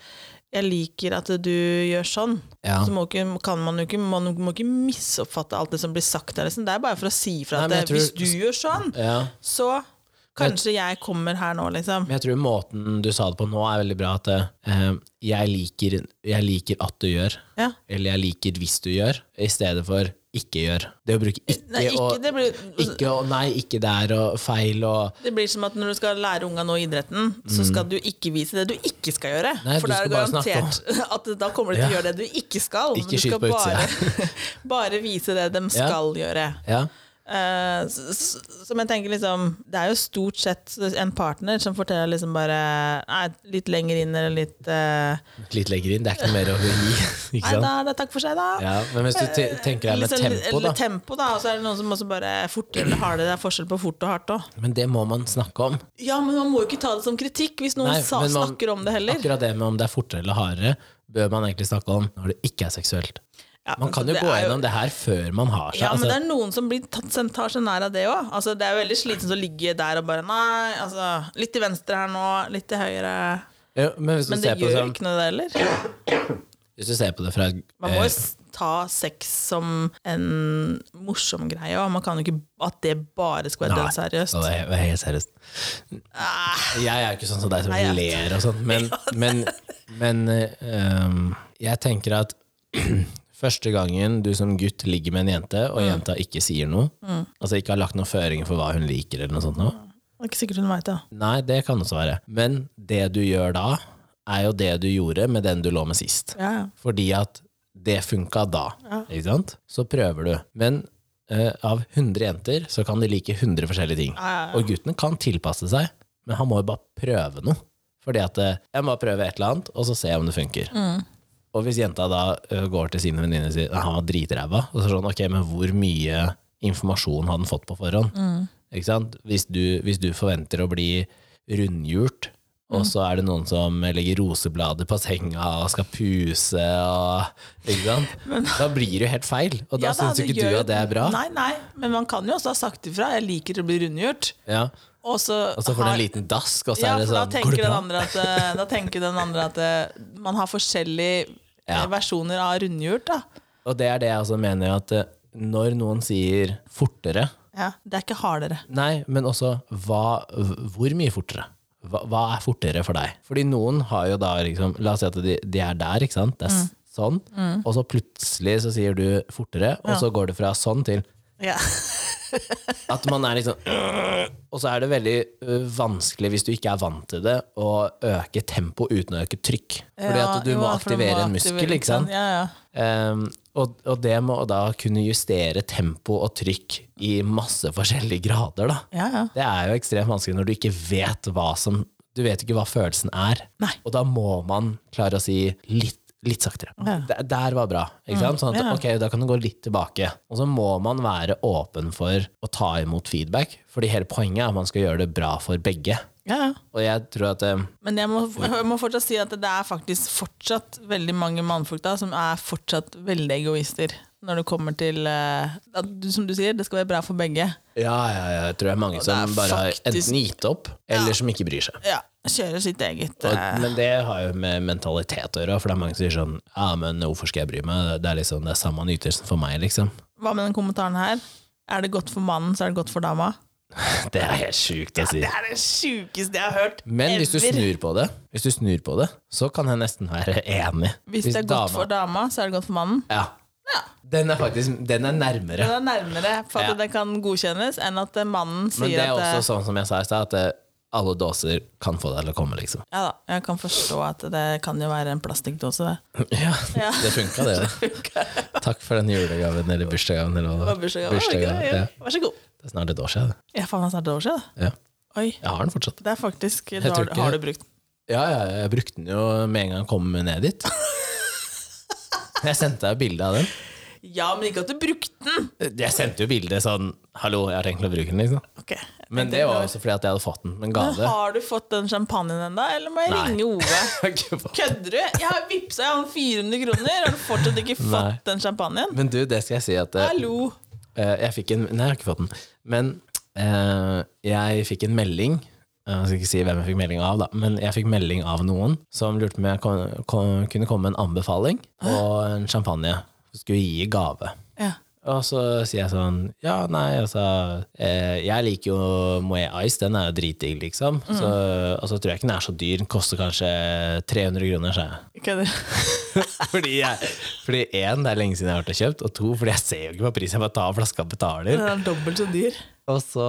Speaker 2: jeg liker at du gjør sånn,
Speaker 1: Ja.
Speaker 2: så må, ikke, kan man jo ikke, man må ikke misoppfatte alt det som blir sagt der. Liksom. Det er bare for å si fra
Speaker 1: Nei,
Speaker 2: at
Speaker 1: men
Speaker 2: eh,
Speaker 1: jeg tror-
Speaker 2: hvis du gjør sånn,
Speaker 1: Ja.
Speaker 2: så kanskje jeg kommer her nå, liksom.
Speaker 1: Men jeg tror måten du sa det på nå, er veldig bra. At eh, jeg, liker, jeg liker at du gjør.
Speaker 2: Ja.
Speaker 1: eller jeg liker hvis du gjør, i stedet for ikke gjør. Det å bruke ikke,
Speaker 2: Eh, Nei, ikke,
Speaker 1: og
Speaker 2: det, blir,
Speaker 1: ikke og nei, ikke der og feil og
Speaker 2: det blir som at når du skal lære unga nå idretten, så skal du ikke vise det du ikke skal gjøre.
Speaker 1: Nei,
Speaker 2: for
Speaker 1: du
Speaker 2: da er
Speaker 1: skal
Speaker 2: det
Speaker 1: bare snakke om-
Speaker 2: garantert at da kommer de til å
Speaker 1: Ja.
Speaker 2: gjøre det du ikke skal.
Speaker 1: Ikke
Speaker 2: men du
Speaker 1: skyt
Speaker 2: skal
Speaker 1: på
Speaker 2: bare, bare vise det de skal gjøre.
Speaker 1: Ja,
Speaker 2: Eh, s- s- som jeg tenker liksom Det er jo stort sett en partner som forteller liksom bare Nei, litt lenger inn eller litt eh,
Speaker 1: litt lenger inn. Det er ikke noe mer å gi. Ikke
Speaker 2: Nei,
Speaker 1: sant?
Speaker 2: da er det takk for seg, da.
Speaker 1: Ja, men hvis du te tenker deg med
Speaker 2: Liksom,
Speaker 1: tempo,
Speaker 2: eller
Speaker 1: da.
Speaker 2: tempo, da. Og så er det noen som også bare er fortere eller hardere. Det er forskjell på fort og hardt òg.
Speaker 1: Men det må man snakke om.
Speaker 2: Ja, men man må jo ikke ta det som kritikk hvis noen
Speaker 1: Nei,
Speaker 2: sa,
Speaker 1: men man-
Speaker 2: snakker om det heller.
Speaker 1: Akkurat det med om det er fortere eller hardere, bør man egentlig snakke om når det ikke er seksuelt.
Speaker 2: Ja,
Speaker 1: Man
Speaker 2: men
Speaker 1: kan
Speaker 2: så
Speaker 1: jo
Speaker 2: Altså, det
Speaker 1: gå
Speaker 2: er jo-
Speaker 1: gjennom det her før man har seg.
Speaker 2: Ja, men
Speaker 1: altså,
Speaker 2: det er noen som blir tatt, sen- tar seg nær av det òg. Altså, det er jo veldig slitsomt å ligge der og bare Nei, altså Litt til venstre her nå, litt til høyre.
Speaker 1: jo, men hvis du,
Speaker 2: Men
Speaker 1: ser
Speaker 2: det
Speaker 1: på,
Speaker 2: gjør
Speaker 1: sånn-
Speaker 2: ikke noe, det heller.
Speaker 1: hvis du ser på det fra
Speaker 2: Man må jo
Speaker 1: eh,
Speaker 2: s- ta sex som en morsom greie, og man kan jo ikke at det bare skal være
Speaker 1: Nei,
Speaker 2: dødsseriøst.
Speaker 1: og det er helt seriøst. Jeg er jo ikke sånn som deg som
Speaker 2: Nei, jeg
Speaker 1: ler og sånn, men, men, men eh, um, jeg tenker at første gangen du som gutt ligger med en jente, og
Speaker 2: Mm.
Speaker 1: jenta ikke sier noe, altså ikke har lagt noen føringer for hva hun liker eller noe sånt nå,
Speaker 2: Det er ikke sikkert hun veit det.
Speaker 1: nei, det kan også være. Men det du gjør da, er jo det du gjorde med den du lå med sist.
Speaker 2: Ja.
Speaker 1: Fordi at det funka da, ikke sant? Så prøver du. Men eh, av 100 jenter så kan de like 100 forskjellige ting.
Speaker 2: ja,
Speaker 1: Og gutten kan tilpasse seg, men han må jo bare prøve noe. Fordi at eh, jeg må bare prøve et eller annet, og så ser jeg om det funker. Og hvis jenta da eh, går til sine venninner og sier at han var dritræva, og så er det sånn, ok, men hvor mye informasjon har den fått på forhånd?
Speaker 2: Mm.
Speaker 1: Ikke sant? Hvis du, hvis du forventer å bli rundhjult, og så er det noen som legger roseblader på senga og skal puse og, ikke sant? da blir det jo helt feil, og da
Speaker 2: Ja, da,
Speaker 1: syns jo
Speaker 2: det
Speaker 1: ikke du
Speaker 2: gjør jo-
Speaker 1: at det er bra.
Speaker 2: Nei, nei, men man kan jo også ha sagt ifra. Jeg liker å bli rundgjort.
Speaker 1: Ja.
Speaker 2: Og så
Speaker 1: Og så får du
Speaker 2: har-
Speaker 1: en liten dask, og så
Speaker 2: ja,
Speaker 1: er det
Speaker 2: for
Speaker 1: sånn
Speaker 2: da
Speaker 1: Går
Speaker 2: tenker,
Speaker 1: det
Speaker 2: den
Speaker 1: bra?
Speaker 2: andre at, eh, da tenker den andre at eh, man har forskjellige eh,
Speaker 1: Ja.
Speaker 2: versjoner av rundgjort. Da.
Speaker 1: Og det er det jeg også mener at eh, når noen sier fortere
Speaker 2: Ja, det er ikke hardere.
Speaker 1: Nei, men også hva, hvor mye fortere? Hva, hva er fortere for deg? Fordi noen har jo da liksom La oss si at de, de er der, ikke sant? Det
Speaker 2: Mm.
Speaker 1: er s- sånn. Og så plutselig så sier du fortere, og så går det fra sånn til
Speaker 2: Ja.
Speaker 1: At man er liksom Og så er det veldig ø, vanskelig, hvis du ikke er vant til det, å øke tempo uten å øke trykk. Fordi
Speaker 2: Ja,
Speaker 1: at du
Speaker 2: jo,
Speaker 1: må
Speaker 2: for du
Speaker 1: aktivere en muskel,
Speaker 2: aktivere, sånn,
Speaker 1: ikke sant?
Speaker 2: Ja, ja.
Speaker 1: Ehm, og, og det må da kunne justere tempo og trykk i masse forskjellige grader, da.
Speaker 2: ja, ja.
Speaker 1: Det er jo ekstremt vanskelig når du ikke vet hva som Du vet ikke hva følelsen er.
Speaker 2: Nei.
Speaker 1: Og da må man klare å si litt, litt saktere.
Speaker 2: Ja. Mm.
Speaker 1: Der, der var bra. Ikke sant? Sånn at
Speaker 2: ja.
Speaker 1: ok, da kan du gå litt tilbake. Og så må man være åpen for å ta imot feedback, fordi hele poenget er at man skal gjøre det bra for begge.
Speaker 2: ja, ja.
Speaker 1: Og jeg tror at eh,
Speaker 2: Men jeg må, jeg må fortsatt si at det er faktisk fortsatt veldig mange mannfolk da, som er fortsatt veldig egoister. Når det kommer til eh, at du, Som du sier, det skal være bra for begge.
Speaker 1: ja, ja, ja, jeg tror det er mange som
Speaker 2: det er
Speaker 1: bare har
Speaker 2: faktisk-
Speaker 1: enten gitt opp, eller som ikke bryr seg.
Speaker 2: Ja, Kjøre sitt eget
Speaker 1: Og,
Speaker 2: eh,
Speaker 1: men det har jo med mentalitet å gjøre, for det er mange som sier sånn Ja, men hvorfor skal jeg bry meg? Det er liksom det er samme nytelsen for meg, liksom.
Speaker 2: Hva med den kommentaren her? Er det godt for mannen, så er det godt for dama.
Speaker 1: Det er helt sjukt å si.
Speaker 2: Det er det sjukeste jeg har hørt.
Speaker 1: Men hvis du
Speaker 2: ever.
Speaker 1: snur på det, Hvis du snur på det så kan jeg nesten være enig.
Speaker 2: Hvis det er godt for dama, så er det godt for mannen.
Speaker 1: Ja.
Speaker 2: Ja.
Speaker 1: Den er faktisk Den er nærmere.
Speaker 2: Det er nærmere for at
Speaker 1: Ja.
Speaker 2: det kan godkjennes, enn at eh, mannen
Speaker 1: Men
Speaker 2: sier
Speaker 1: det er
Speaker 2: at eh,
Speaker 1: også sånn som jeg sa i stad, at eh, alle dåser kan få deg til å komme, liksom.
Speaker 2: Ja da, jeg kan forstå at det kan jo være en plastikkdose, det.
Speaker 1: Ja,
Speaker 2: Ja.
Speaker 1: det funka, det. da. Takk for den julegaven eller bursdagsgaven eller hva det
Speaker 2: Det var
Speaker 1: var.
Speaker 2: bursdagsgave, var det ikke det?
Speaker 1: ja.
Speaker 2: Ja. Vær så god.
Speaker 1: Det er snart et år siden.
Speaker 2: Ja, faen, det er snart et år siden. da.
Speaker 1: det. Ja.
Speaker 2: Oi.
Speaker 1: Jeg har den fortsatt.
Speaker 2: Det er faktisk
Speaker 1: tror
Speaker 2: da har,
Speaker 1: ikke-
Speaker 2: har du brukt den.
Speaker 1: Ja, ja, jeg brukte den jo med en gang jeg kom ned dit. Jeg sendte deg bilde av den.
Speaker 2: Ja, men ikke at du brukte den!
Speaker 1: Jeg sendte jo bilde sånn 'hallo, jeg har tenkt å bruke den', liksom.
Speaker 2: Ok, jeg
Speaker 1: Men
Speaker 2: tenkte
Speaker 1: det var
Speaker 2: det
Speaker 1: også fordi at jeg hadde fått den. Men ga
Speaker 2: var-
Speaker 1: det.
Speaker 2: Har du fått den champagnen ennå, eller må jeg
Speaker 1: Nei.
Speaker 2: ringe Ove?
Speaker 1: Ikke fått.
Speaker 2: Kødder du? Jeg har vippsa jeg har 400 kroner, har du fortsatt ikke fått
Speaker 1: Nei.
Speaker 2: den champagnen?
Speaker 1: Men du, det skal jeg si at eh,
Speaker 2: Hallo!
Speaker 1: eh, Jeg fikk en Nei, jeg har ikke fått den. Men eh, jeg fikk en melding. Eh, Jeg skal ikke si hvem jeg fikk melding av, da, men jeg fikk melding av noen som lurte på om jeg kom, kom, kunne komme med en anbefaling og en champagne. Skulle gi i gave.
Speaker 2: Ja.
Speaker 1: Og så sier jeg sånn Ja, nei, altså eh, Jeg liker jo Moe Ice, den er jo dritdigg, liksom. Så, og så tror jeg ikke den er så dyr. Den koster kanskje 300 kroner, sa jeg.
Speaker 2: Kødder
Speaker 1: Fordi jeg Fordi én, det er lenge siden jeg har vært og kjøpt, og to, fordi jeg ser jo ikke på prisen. Jeg bare tar flaska og betaler.
Speaker 2: Den er dobbelt så dyr.
Speaker 1: Og så,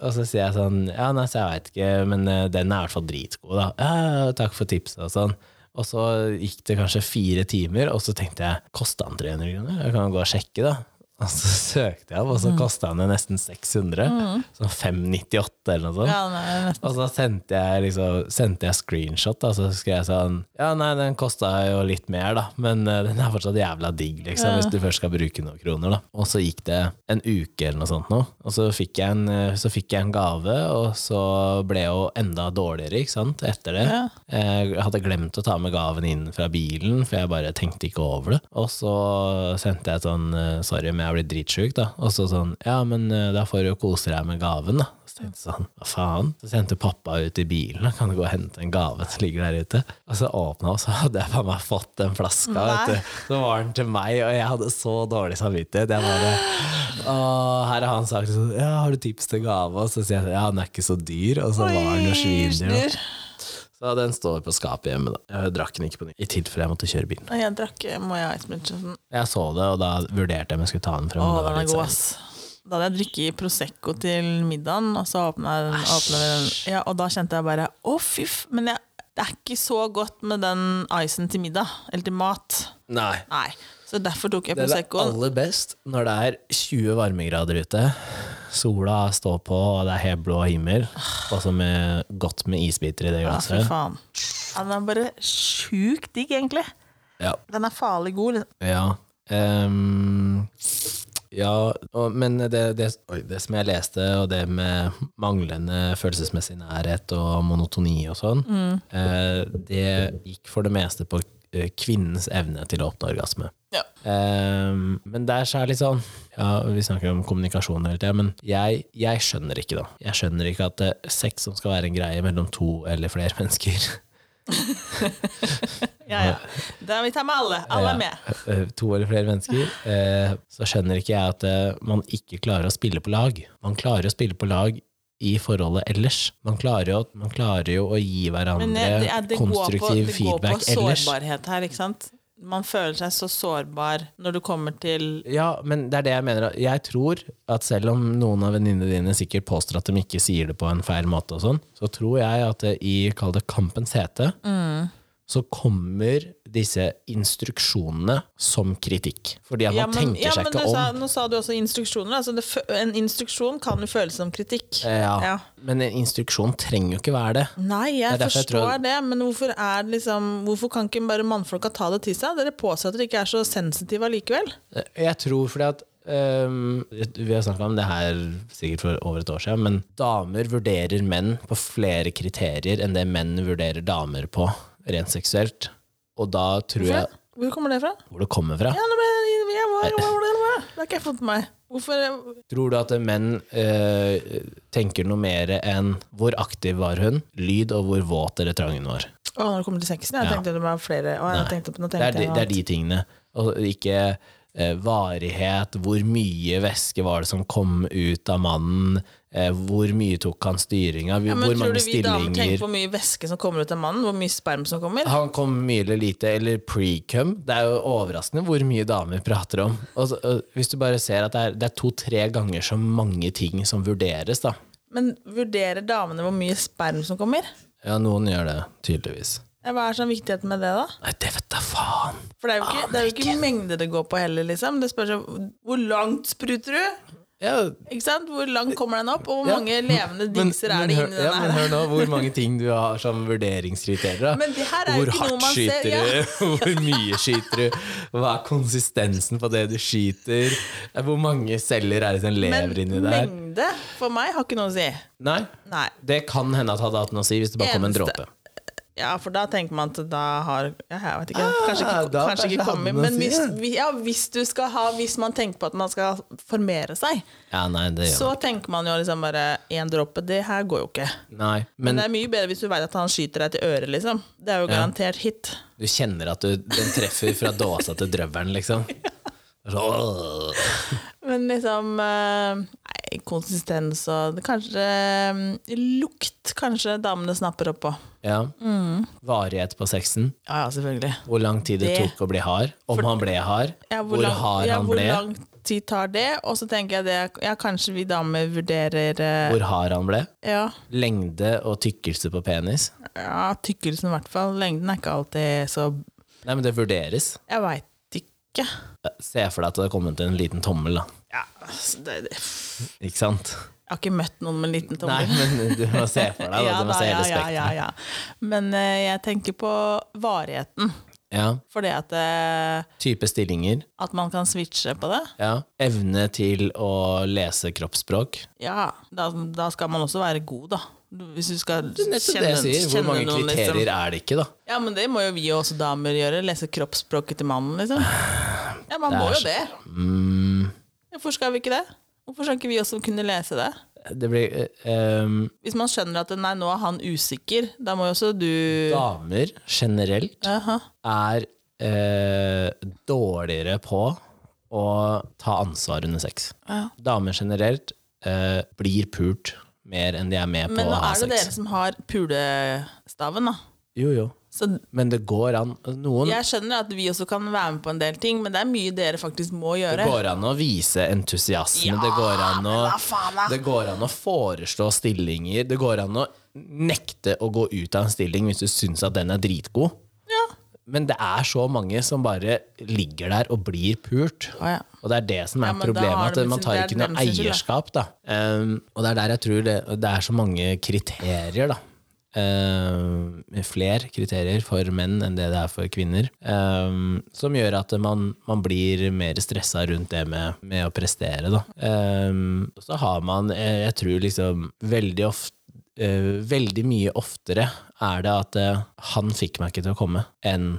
Speaker 1: og så sier jeg sånn Ja, nei, så jeg veit ikke, men eh, den er i hvert fall dritgod, da. Ja, takk for tipset og sånn. Og så gikk det kanskje fire timer, og så tenkte jeg kosta han 300 kroner? Jeg kan jo gå og sjekke, da. Og så søkte jeg, opp, og så kosta han jo nesten 600. Sånn 598 eller noe sånt.
Speaker 2: Ja, den er nesten
Speaker 1: Og så sendte jeg, liksom, sendte jeg screenshot, da, så skrev jeg sånn Ja, nei, den kosta jo litt mer, da, men eh, den er fortsatt jævla digg, liksom, hvis du først skal bruke noen kroner, da. Og så gikk det en uke eller noe sånt nå, og så fikk jeg en, eh, så fikk jeg en gave, og så ble jeg jo enda dårligere, ikke sant, etter det. Eh,
Speaker 2: Ja.
Speaker 1: Jeg hadde glemt å ta med gaven inn fra bilen, for jeg bare tenkte ikke over det. Og så sendte jeg et sånn eh, 'sorry, men jeg har blitt dritsjuk', da. Og så sånn 'ja, men eh, da får du jo kose deg med gaven', da. Så tenkte jeg sånn 'hva faen'? Så sendte pappa ut i bilen, da kan du gå og hente en gave som ligger der ute? Og så åpna han, og så hadde jeg faen meg fått den flaska,
Speaker 2: Nei.
Speaker 1: vet du. Så var den til meg, og jeg hadde så dårlig samvittighet. Jeg bare «Åh, her har han sagt sånn 'ja, har du tips til gave', og så sier jeg sånn 'ja, den er ikke så dyr', og så var den jo svindyr. da.
Speaker 2: dyr.
Speaker 1: Så den står på skapet hjemme. da Jeg drakk den ikke på ny, i tilfelle jeg måtte kjøre bilen.
Speaker 2: Nei, Jeg drakk eh, Moya Ice Munchausen.
Speaker 1: Jeg så det, og da vurderte jeg om jeg skulle ta den frem.
Speaker 2: Å,
Speaker 1: men det var
Speaker 2: den er
Speaker 1: litt
Speaker 2: god,
Speaker 1: seint.
Speaker 2: ass. Da hadde jeg drukket Prosecco til middagen, og så åpna jeg den, åpna vi den. Ja, og da kjente jeg bare å, fy f... Men jeg, det er ikke så godt med den icen til middag, eller til mat.
Speaker 1: Nei.
Speaker 2: Nei. Så derfor tok jeg
Speaker 1: Det er det
Speaker 2: Proseccoen.
Speaker 1: aller best når det er 20 varmegrader ute, sola står på, og det er helt blå himmel, og så med, godt med isbiter i det
Speaker 2: Ja, Ah, fy
Speaker 1: glasset.
Speaker 2: faen. Ja, den er bare sjukt digg, egentlig.
Speaker 1: Ja.
Speaker 2: Den er farlig god. liksom.
Speaker 1: Ja. Ehm, ja, og, men det, det, oi, det som jeg leste, og det med manglende følelsesmessig nærhet og monotoni og sånn,
Speaker 2: Mm.
Speaker 1: eh, det gikk for det meste på eh, kvinnens evne til å oppnå orgasme.
Speaker 2: Ja.
Speaker 1: Ehm, men der så er det litt sånn ja, Vi snakker om kommunikasjon hele tida, men jeg, jeg skjønner ikke, da. Jeg skjønner ikke at eh, sex som skal være en greie mellom to eller flere mennesker
Speaker 2: Ja, ja. Da, vi tar med alle. Alle er med.
Speaker 1: Ja, eh, To eller flere mennesker. eh, Så skjønner ikke jeg at eh, man ikke klarer å spille på lag. Man klarer å spille på lag i forholdet ellers. Man klarer jo, man klarer jo å gi
Speaker 2: Men eh,
Speaker 1: hverandre
Speaker 2: det, det, det, går på,
Speaker 1: konstruktiv
Speaker 2: det går på
Speaker 1: feedback ellers.
Speaker 2: sårbarhet her, ikke sant? man føler seg så sårbar når du kommer til
Speaker 1: Ja, men det er det jeg mener. Jeg tror at selv om noen av venninnene dine sikkert påstår at de ikke sier det på en feil måte, og sånn, så tror jeg at det i kall det kampens hete,
Speaker 2: Mm.
Speaker 1: så kommer disse instruksjonene som kritikk. Fordi at man tenker
Speaker 2: ja,
Speaker 1: seg
Speaker 2: men
Speaker 1: ikke
Speaker 2: du
Speaker 1: om.
Speaker 2: sa, Nå sa du også instruksjoner. Altså det, fø- en instruksjon kan jo føles som kritikk.
Speaker 1: Eh, Ja.
Speaker 2: Ja.
Speaker 1: Men en instruksjon trenger jo ikke være det.
Speaker 2: Nei, jeg
Speaker 1: Det er derfor jeg
Speaker 2: forstår
Speaker 1: tror-
Speaker 2: det, men hvorfor, er det liksom, hvorfor kan ikke bare mannfolka ta det til seg? Dere påstår at dere ikke er så sensitive allikevel.
Speaker 1: Eh, Jeg tror fordi at ehm, Vi har snakka om det her sikkert for over et år siden, men damer vurderer menn på flere kriterier enn det menn vurderer damer på, rent seksuelt. Og da tror jeg
Speaker 2: Hvor kommer det fra?
Speaker 1: hvor det kommer fra.
Speaker 2: Ja, nå ble jeg, jeg, jeg, jeg, jeg, jeg, Det har ikke jeg fått med meg. Hvorfor
Speaker 1: Tror du at menn eh, tenker noe mer enn hvor aktiv var hun, lyd og hvor våt eller trang hun var?
Speaker 2: Å, når det kommer til sexen, jeg
Speaker 1: Ja.
Speaker 2: tenkte det var flere. Å, jeg
Speaker 1: Nei.
Speaker 2: tenkte på, nå
Speaker 1: Det
Speaker 2: tenkte
Speaker 1: er de,
Speaker 2: jeg
Speaker 1: det er
Speaker 2: noe
Speaker 1: de tingene. Og ikke eh, varighet, hvor mye væske var det som kom ut av mannen, eh, hvor mye tok han styringa,
Speaker 2: annet. ja, men
Speaker 1: hvor
Speaker 2: tror
Speaker 1: mange
Speaker 2: du vi damer tenker
Speaker 1: stillinger Ah.
Speaker 2: på hvor mye væske som kommer ut av mannen? Hvor mye sperm som kommer?
Speaker 1: han kom mye eller lite, eller pre-cum. Det er jo overraskende hvor mye damer prater om. Og, så- og hvis du bare ser at det er, det er to-tre ganger så mange ting som vurderes, da.
Speaker 2: Men vurderer damene hvor mye sperm som kommer?
Speaker 1: Ja, noen gjør det, tydeligvis.
Speaker 2: Ja, Hva er sånn viktigheten med det, da?
Speaker 1: Nei, det vet da faen!
Speaker 2: For det er jo
Speaker 1: Ah,
Speaker 2: ikke, det er jo ikke mengde det går på heller, liksom. Det spørs jo hvor langt spruter du?
Speaker 1: Ja,
Speaker 2: Ikke sant? Hvor langt kommer den opp, og hvor
Speaker 1: Ja,
Speaker 2: mange levende
Speaker 1: men-
Speaker 2: dingser
Speaker 1: men
Speaker 2: er det
Speaker 1: hør-
Speaker 2: inni
Speaker 1: ja,
Speaker 2: den
Speaker 1: Men hør
Speaker 2: her?
Speaker 1: nå hvor mange ting du har som vurderingskriterier. da.
Speaker 2: Men det her er jo
Speaker 1: hvor
Speaker 2: ikke noe
Speaker 1: hardt
Speaker 2: man ser,
Speaker 1: skyter
Speaker 2: ja.
Speaker 1: du? Hvor mye skyter du? Hva er konsistensen på det du skyter? Hvor mange celler er det som lever inni
Speaker 2: Men
Speaker 1: der?
Speaker 2: mengde for meg har ikke noe å si.
Speaker 1: Nei,
Speaker 2: Nei.
Speaker 1: det kan hende at det hadde hatt noe å si hvis det bare kom en
Speaker 2: Eneste-
Speaker 1: dråpe.
Speaker 2: Ja, for da tenker man at da har ja, Jeg vet ikke.
Speaker 1: Ah,
Speaker 2: Kanskje ikke,
Speaker 1: da
Speaker 2: kanskje
Speaker 1: kanskje
Speaker 2: ikke
Speaker 1: hadde
Speaker 2: kommet.
Speaker 1: den å
Speaker 2: Men
Speaker 1: si,
Speaker 2: hvis,
Speaker 1: ja.
Speaker 2: vi- ja, hvis du skal ha Hvis man tenker på at man skal formere seg,
Speaker 1: Ja, nei, det gjør
Speaker 2: så tenker man jo liksom bare én dråpe, det her går jo ikke.
Speaker 1: Nei, men
Speaker 2: Men det er mye bedre hvis du veit at han skyter deg til øret, liksom. Det er jo garantert hit.
Speaker 1: du kjenner at du, den treffer fra dåsa til drøvelen, liksom. Så, åh.
Speaker 2: Men liksom eh, Nei, konsistens og det Kanskje eh, lukt kanskje damene snapper opp på.
Speaker 1: Ja.
Speaker 2: Mm.
Speaker 1: Varighet på sexen.
Speaker 2: Ja, ja, selvfølgelig.
Speaker 1: Hvor lang tid det,
Speaker 2: Det-
Speaker 1: tok å bli hard. Om han ble hard.
Speaker 2: Ja,
Speaker 1: hvor
Speaker 2: lang-
Speaker 1: hard
Speaker 2: ja,
Speaker 1: han
Speaker 2: hvor
Speaker 1: ble.
Speaker 2: lang tid tar det? Og så tenker jeg det Ja, kanskje vi damer vurderer eh,
Speaker 1: Hvor hard han ble.
Speaker 2: ja,
Speaker 1: Lengde og tykkelse på penis.
Speaker 2: ja, tykkelsen i hvert fall. Lengden er ikke alltid så
Speaker 1: Nei, men det vurderes.
Speaker 2: Jeg veit ikke.
Speaker 1: Se for deg at det har kommet en liten tommel, da.
Speaker 2: Ja, altså, det, det. Jeg
Speaker 1: Ikke sant?
Speaker 2: har ikke møtt noen med en liten tommel.
Speaker 1: Nei, men du må se for deg, da.
Speaker 2: ja,
Speaker 1: du må
Speaker 2: da,
Speaker 1: se
Speaker 2: ja,
Speaker 1: hele
Speaker 2: ja, ja,
Speaker 1: spekteret.
Speaker 2: ja. Men eh, jeg tenker på varigheten.
Speaker 1: Ja.
Speaker 2: For det at, eh,
Speaker 1: Type stillinger.
Speaker 2: at man kan switche på det.
Speaker 1: Ja. Evne til å lese kroppsspråk.
Speaker 2: Ja, da, da skal man også være god, da. Du- Hvis du skal
Speaker 1: Det er nettopp det jeg sier. Hvor mange kriterier
Speaker 2: liksom.
Speaker 1: er det ikke, da?
Speaker 2: Ja, men det må jo vi også damer gjøre. Lese kroppsspråket til mannen, liksom. Ja, man
Speaker 1: Det
Speaker 2: må
Speaker 1: er
Speaker 2: jo
Speaker 1: så-
Speaker 2: det.
Speaker 1: Mm,
Speaker 2: Hvorfor skal vi ikke det? Hvorfor skal ikke vi også kunne lese det?
Speaker 1: det blir eh, um,
Speaker 2: Hvis man skjønner at nei, nå er han usikker, da må jo også du
Speaker 1: Damer generelt
Speaker 2: Aha.
Speaker 1: er eh, dårligere på å ta ansvar under sex.
Speaker 2: Ja.
Speaker 1: Damer generelt eh, blir pult mer enn de er med på
Speaker 2: Men nå
Speaker 1: å ha
Speaker 2: er det dere
Speaker 1: sex.
Speaker 2: som har pulestaven, da.
Speaker 1: Jo, jo.
Speaker 2: Så
Speaker 1: Men det går an. Noen
Speaker 2: jeg skjønner at vi også kan være med på en del ting, men det er mye dere faktisk må
Speaker 1: Det
Speaker 2: gjøre.
Speaker 1: går an å vise entusiasme, det, går an å, det går an å foreslå stillinger. Det går an å nekte å gå ut av en stilling hvis du syns at den er dritgod.
Speaker 2: Ja.
Speaker 1: Men det er så mange som bare ligger der og blir purt.
Speaker 2: Å, ja.
Speaker 1: Og det er det som er
Speaker 2: Ja, men da har
Speaker 1: problemet,
Speaker 2: det
Speaker 1: at man
Speaker 2: plutselig-
Speaker 1: tar
Speaker 2: det er
Speaker 1: ikke noe
Speaker 2: dem sin skyld, da.
Speaker 1: eierskap. Da. Um, og det er der jeg tror det, det er så mange kriterier, da. Um, Flere kriterier for menn enn det det er for kvinner. Um, som gjør at man, man blir mer stressa rundt det med, med å prestere, da. Um, og så har man, eh, jeg tror liksom veldig ofte eh, veldig mye oftere er det at eh, han fikk meg ikke til å komme, enn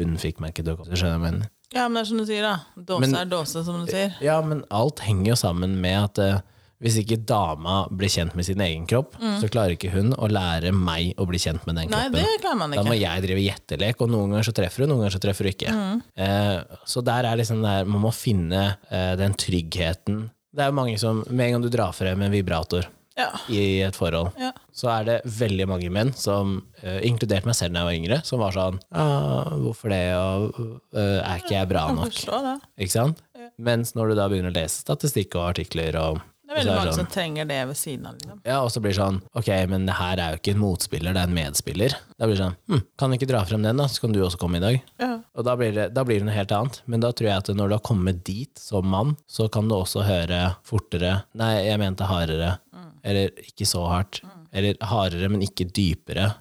Speaker 2: Mm.
Speaker 1: hun fikk meg ikke til å komme. Hvis du Skjønner jeg hva jeg mener?
Speaker 2: Ja, men det er som du sier, da. Dåse
Speaker 1: Men-
Speaker 2: er dåse, som du sier.
Speaker 1: Ja, men alt henger jo sammen med at eh, hvis ikke dama blir kjent med sin egen kropp, så klarer ikke hun å lære meg å bli kjent med den
Speaker 2: Mm. Nei,
Speaker 1: kroppen.
Speaker 2: det klarer man
Speaker 1: Da må
Speaker 2: ikke.
Speaker 1: jeg drive gjettelek, og noen ganger så treffer hun, noen ganger så treffer hun ikke.
Speaker 2: Mm.
Speaker 1: Eh, så der er liksom det her, man må finne eh, den tryggheten. Det er jo mange som, med en gang du drar frem en vibrator,
Speaker 2: Ja.
Speaker 1: i et forhold,
Speaker 2: Ja.
Speaker 1: så er det veldig mange menn, som, eh, inkludert meg selv da jeg var yngre, som var sånn ah, 'Hvorfor det? Og, eh, er ikke jeg bra
Speaker 2: Jeg
Speaker 1: nok?'
Speaker 2: forstår det.
Speaker 1: Ikke sant?
Speaker 2: Ja.
Speaker 1: Mens når du da begynner å lese statistikk og artikler, og,
Speaker 2: Det er veldig
Speaker 1: og så
Speaker 2: mange
Speaker 1: sånn,
Speaker 2: som trenger det ved siden av. Liksom.
Speaker 1: ja, og så blir det sånn Ok, men det her er jo ikke en motspiller, det er en medspiller. Da blir det sånn hm, Kan ikke dra frem den, da, så kan du også komme i dag.
Speaker 2: Ja.
Speaker 1: Og da blir, det, da blir det noe helt annet. Men da tror jeg at når du har kommet dit som mann, så kan du også høre fortere Nei, jeg mente hardere.
Speaker 2: Mm.
Speaker 1: Eller ikke så hardt. Eller hardere, men ikke dypere.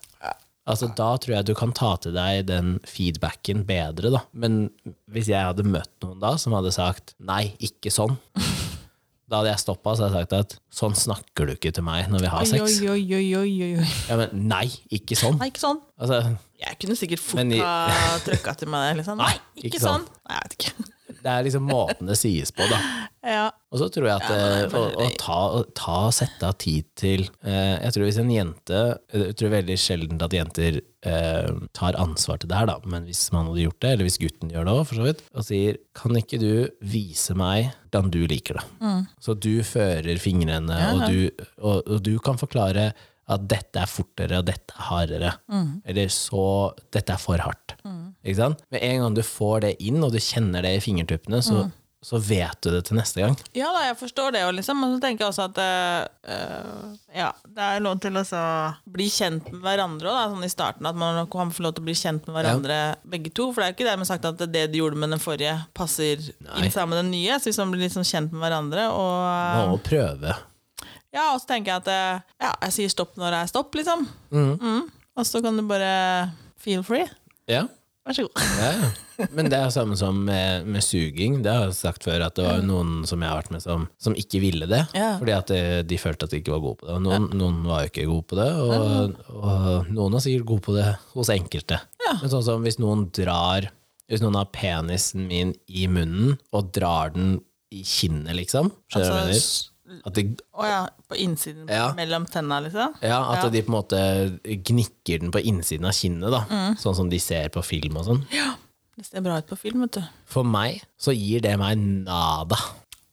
Speaker 1: Altså, da tror jeg du kan ta til deg den feedbacken bedre, da. Men hvis jeg hadde møtt noen da som hadde sagt nei, ikke sånn, da hadde jeg stoppa og sagt at sånn snakker du ikke til meg når vi har
Speaker 2: Oi,
Speaker 1: sex.
Speaker 2: oi, oi, oi, oi, oi.
Speaker 1: Ja, men nei, ikke sånn.
Speaker 2: Nei, ikke sånn.
Speaker 1: Altså,
Speaker 2: Jeg kunne sikkert fort
Speaker 1: Men i-
Speaker 2: ha trøkka til meg det. Liksom. Nei,
Speaker 1: Nei,
Speaker 2: ikke,
Speaker 1: ikke
Speaker 2: sånn.
Speaker 1: sånn.
Speaker 2: Nei, jeg vet ikke.
Speaker 1: det er liksom måten det sies på, da.
Speaker 2: Ja.
Speaker 1: Og så tror jeg at eh, å, å ta, å ta og sette av tid til eh, Jeg tror hvis en jente eh, Jeg tror veldig sjelden at jenter eh, tar ansvar til det her, da. Men hvis man hadde gjort det, eller hvis gutten gjør det òg, for så vidt, og sier Kan ikke du vise meg hvordan du liker det? Så du fører fingrene, Og, du, og, og du kan forklare at dette er fortere, og dette er hardere. Eller så Dette er for hardt. Ikke sant? Med en gang du får det inn, og du kjenner det i fingertuppene, så, så vet du det til neste gang.
Speaker 2: ja da, jeg forstår det jo, liksom. Men så tenker jeg også at eh, eh, ja, det er lov til å så bli kjent med hverandre òg, sånn i starten. At man kan få lov til å bli kjent med hverandre begge to. For det er jo ikke dermed sagt at det du gjorde med den forrige, passer inn sammen med den nye. Så hvis man blir liksom kjent med hverandre og eh,
Speaker 1: Må prøve.
Speaker 2: Ja, og så tenker jeg at eh, ja, jeg sier stopp når det er stopp, liksom. Mm. Og så kan du bare feel free.
Speaker 1: Ja.
Speaker 2: Vær så god.
Speaker 1: ja, ja. Men det er samme som med, med suging. Det har jeg sagt før, at det var jo noen som jeg har vært med som, som ikke ville det.
Speaker 2: Mm. Ja.
Speaker 1: Fordi at de, de følte at de ikke var gode på det. Og noen, noen var jo ikke gode på det, og,
Speaker 2: Mm.
Speaker 1: og noen er sikkert gode på det hos enkelte. Men sånn som hvis noen drar Hvis noen har penisen min i munnen, og drar den i kinnet, liksom. Skjønner du hva jeg
Speaker 2: Altså,
Speaker 1: mener? At de
Speaker 2: Å ja, på innsiden
Speaker 1: Ja.
Speaker 2: mellom tenna, liksom?
Speaker 1: Ja, at
Speaker 2: Ja.
Speaker 1: de på en måte gnikker den på innsiden av kinnet, da.
Speaker 2: Mm.
Speaker 1: Sånn som de ser på film og sånn.
Speaker 2: Ja. Det ser bra ut på film, vet du.
Speaker 1: For meg så gir det meg nada.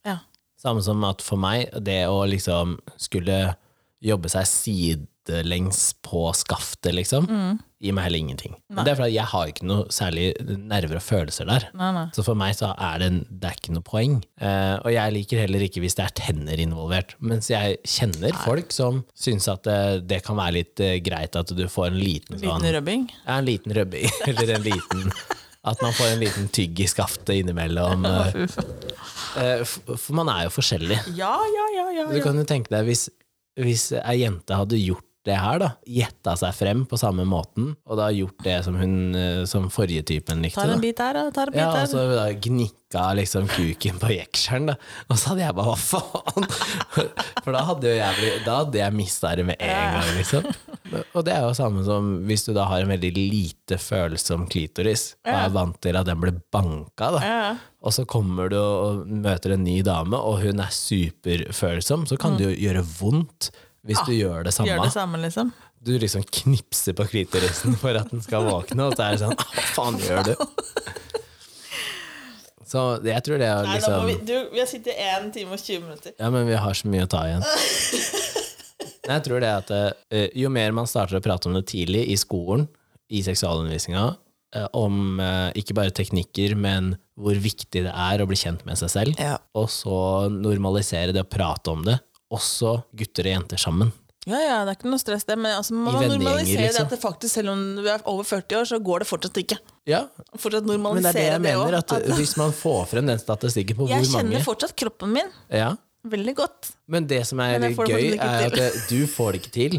Speaker 2: Ja.
Speaker 1: Samme som at for meg, det å liksom skulle jobbe seg sidelengs på skaftet, liksom,
Speaker 2: Mm.
Speaker 1: gir meg heller ingenting. Men Det er fordi jeg har ikke noe særlig nerver og følelser der.
Speaker 2: Nei, nei.
Speaker 1: Så for meg så er det, det er ikke noe poeng. Eh, og jeg liker heller ikke hvis det er tenner involvert. Mens jeg kjenner folk som syns at det, det kan være litt eh, greit at du får en liten sånn
Speaker 2: Liten rubbing.
Speaker 1: ja, en liten rubbing, eller en liten At man får en liten tygg i skaftet innimellom. eh, eh, For for man er jo forskjellig.
Speaker 2: Ja, ja, ja, ja.
Speaker 1: Du
Speaker 2: ja.
Speaker 1: kan jo tenke deg hvis, hvis ei jente hadde gjort det her, da. Gjetta seg frem på samme måten, og da gjort det som hun eh, som forrige typen likte.
Speaker 2: Tar
Speaker 1: da.
Speaker 2: en bit der og tar en bit
Speaker 1: Ja, altså, og
Speaker 2: der.
Speaker 1: så da gnikka liksom kuken på jekselen, da. Og så hadde jeg bare hva faen? For da hadde, jo jeg, blitt- da hadde jeg mista det med en gang, liksom. Og det er jo samme som hvis du da har en veldig lite følsom klitoris, og er vant til at den blir banka, da.
Speaker 2: Ja.
Speaker 1: Og så kommer du og møter en ny dame, og hun er superfølsom, så kan det jo gjøre vondt hvis du gjør det samme
Speaker 2: Mm. Ah, Gjør det samme, liksom.
Speaker 1: du liksom knipser på klitorisen for at den skal våkne, og så er det sånn Hva faen gjør du? Så jeg tror det er
Speaker 2: Nei, nå må
Speaker 1: liksom
Speaker 2: vi, du, vi har sittet i 1 time og 20 minutter.
Speaker 1: Ja, men vi har så mye å ta igjen. Men Jeg tror det er at eh, jo mer man starter å prate om det tidlig i skolen, i seksualundervisninga, eh, om eh, ikke bare teknikker, men hvor viktig det er å bli kjent med seg selv,
Speaker 2: Ja.
Speaker 1: og så normalisere det å prate om det, også gutter og jenter sammen.
Speaker 2: Ja, ja, det er ikke noe stress det, men altså, man må
Speaker 1: vennegjenger,
Speaker 2: normalisere det
Speaker 1: liksom.
Speaker 2: at det faktisk, selv om du er over 40 år, så går det fortsatt ikke.
Speaker 1: Ja, Men det er
Speaker 2: Fortsatt
Speaker 1: det
Speaker 2: normalisere
Speaker 1: jeg
Speaker 2: det òg.
Speaker 1: mener, at eh, hvis man får frem den statistikken på
Speaker 2: Jeg
Speaker 1: hvor mange
Speaker 2: kjenner fortsatt kroppen min
Speaker 1: ja.
Speaker 2: veldig godt.
Speaker 1: Men det som er
Speaker 2: Men jeg får det
Speaker 1: gøy,
Speaker 2: fortsatt
Speaker 1: er
Speaker 2: ikke
Speaker 1: at eh, du får det ikke til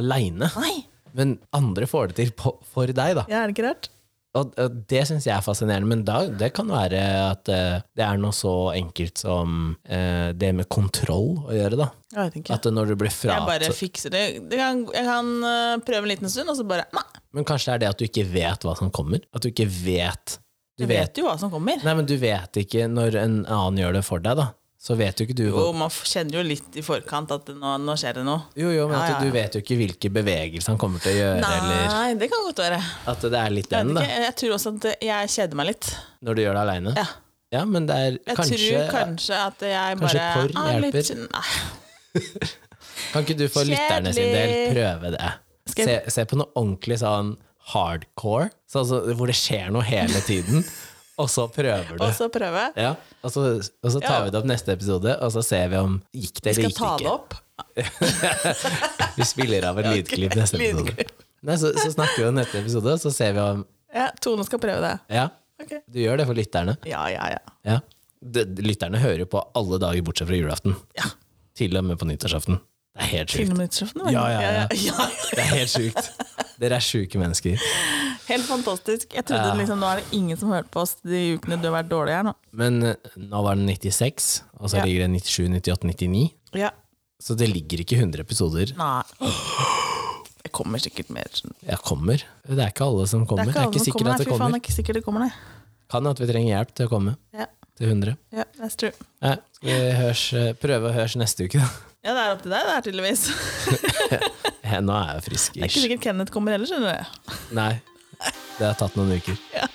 Speaker 1: aleine,
Speaker 2: Nei,
Speaker 1: men andre får det til på, for deg, da.
Speaker 2: ja, er det ikke rart?
Speaker 1: Og, og det syns jeg er fascinerende, men da, det kan være at eh, det er noe så enkelt som eh, det med kontroll å gjøre, da.
Speaker 2: Jeg vet ikke.
Speaker 1: At når du blir
Speaker 2: Jeg
Speaker 1: fratatt
Speaker 2: bare fikser det. det kan, jeg kan øh, prøve en liten stund, og så bare Nei,
Speaker 1: Men kanskje det er det at du ikke vet hva som kommer? At du ikke vet Du
Speaker 2: jeg
Speaker 1: vet,
Speaker 2: vet jo hva som kommer.
Speaker 1: Nei, men du vet ikke når en annen gjør det for deg, da. Så vet jo ikke du
Speaker 2: Jo, man f- kjenner jo litt i forkant at nå, nå skjer det noe.
Speaker 1: Jo, jo, men
Speaker 2: Ja,
Speaker 1: at
Speaker 2: ja,
Speaker 1: du
Speaker 2: ja.
Speaker 1: vet jo ikke hvilke bevegelser han kommer til å gjøre, eller
Speaker 2: Nei, det kan godt være.
Speaker 1: at det er litt
Speaker 2: Jeg,
Speaker 1: den,
Speaker 2: vet
Speaker 1: da,
Speaker 2: ikke, jeg tror også at jeg kjeder meg litt.
Speaker 1: når du gjør det aleine.
Speaker 2: Ja.
Speaker 1: Ja, men det er
Speaker 2: Jeg
Speaker 1: kanskje
Speaker 2: tror kanskje at jeg
Speaker 1: Kanskje
Speaker 2: bare
Speaker 1: porr
Speaker 2: ah, litt-
Speaker 1: hjelper?
Speaker 2: Nei.
Speaker 1: Kan ikke du for lytterne sin del
Speaker 2: Kjedelig.
Speaker 1: prøve det?
Speaker 2: Skal
Speaker 1: Se, se på noe ordentlig sånn hardcore, sånn som- hvor det skjer noe hele tiden, og så prøver du.
Speaker 2: Og så prøve.
Speaker 1: Ja, og så, og så tar
Speaker 2: Ja.
Speaker 1: vi det opp neste episode, og så ser vi om gikk det
Speaker 2: Skal
Speaker 1: eller gikk
Speaker 2: ta det
Speaker 1: ikke.
Speaker 2: opp.
Speaker 1: Vi spiller av en lydklipp neste episode.
Speaker 2: Lydklipp.
Speaker 1: Nei, så, så snakker vi om neste episode, og så ser vi om
Speaker 2: Ja, Tone skal prøve det.
Speaker 1: Ja,
Speaker 2: Ok.
Speaker 1: du gjør det for lytterne.
Speaker 2: Ja, ja, ja.
Speaker 1: Ja. D- lytterne hører jo på alle dager bortsett fra julaften.
Speaker 2: ja.
Speaker 1: Til og med på nyttårsaften. Det er helt sjukt.
Speaker 2: Filmnyttårsaften?
Speaker 1: Ja, ja, ja.
Speaker 2: ja, ja.
Speaker 1: Det er helt sjukt. Dere er sjuke mennesker.
Speaker 2: Helt fantastisk. Jeg trodde
Speaker 1: Ja.
Speaker 2: liksom, nå er det ingen som hørte på oss de ukene du har vært dårlig her nå.
Speaker 1: Men eh, nå var det 96, og så
Speaker 2: Ja.
Speaker 1: ligger det 97, 98, 99.
Speaker 2: Ja.
Speaker 1: Så det ligger ikke 100 episoder.
Speaker 2: Nei. Det kommer sikkert mer. Det
Speaker 1: Jeg kommer. Det er ikke alle som kommer. Det er
Speaker 2: alle
Speaker 1: ikke,
Speaker 2: som
Speaker 1: sikkert at det
Speaker 2: nei. Fy faen,
Speaker 1: kommer.
Speaker 2: det er ikke sikkert det kommer, nei.
Speaker 1: Kan at vi trenger hjelp til å komme
Speaker 2: Ja,
Speaker 1: til 100.
Speaker 2: ja, that's true.
Speaker 1: Nei, skal vi hørs, eh, prøve å høres neste uke, da?
Speaker 2: Ja, det er opp til deg, det er tydeligvis.
Speaker 1: Eh, Nå er jeg frisk.
Speaker 2: Det er ikke
Speaker 1: ish.
Speaker 2: sikkert Kenneth kommer heller, skjønner du.
Speaker 1: Nei. Det har tatt noen uker.
Speaker 2: Ja.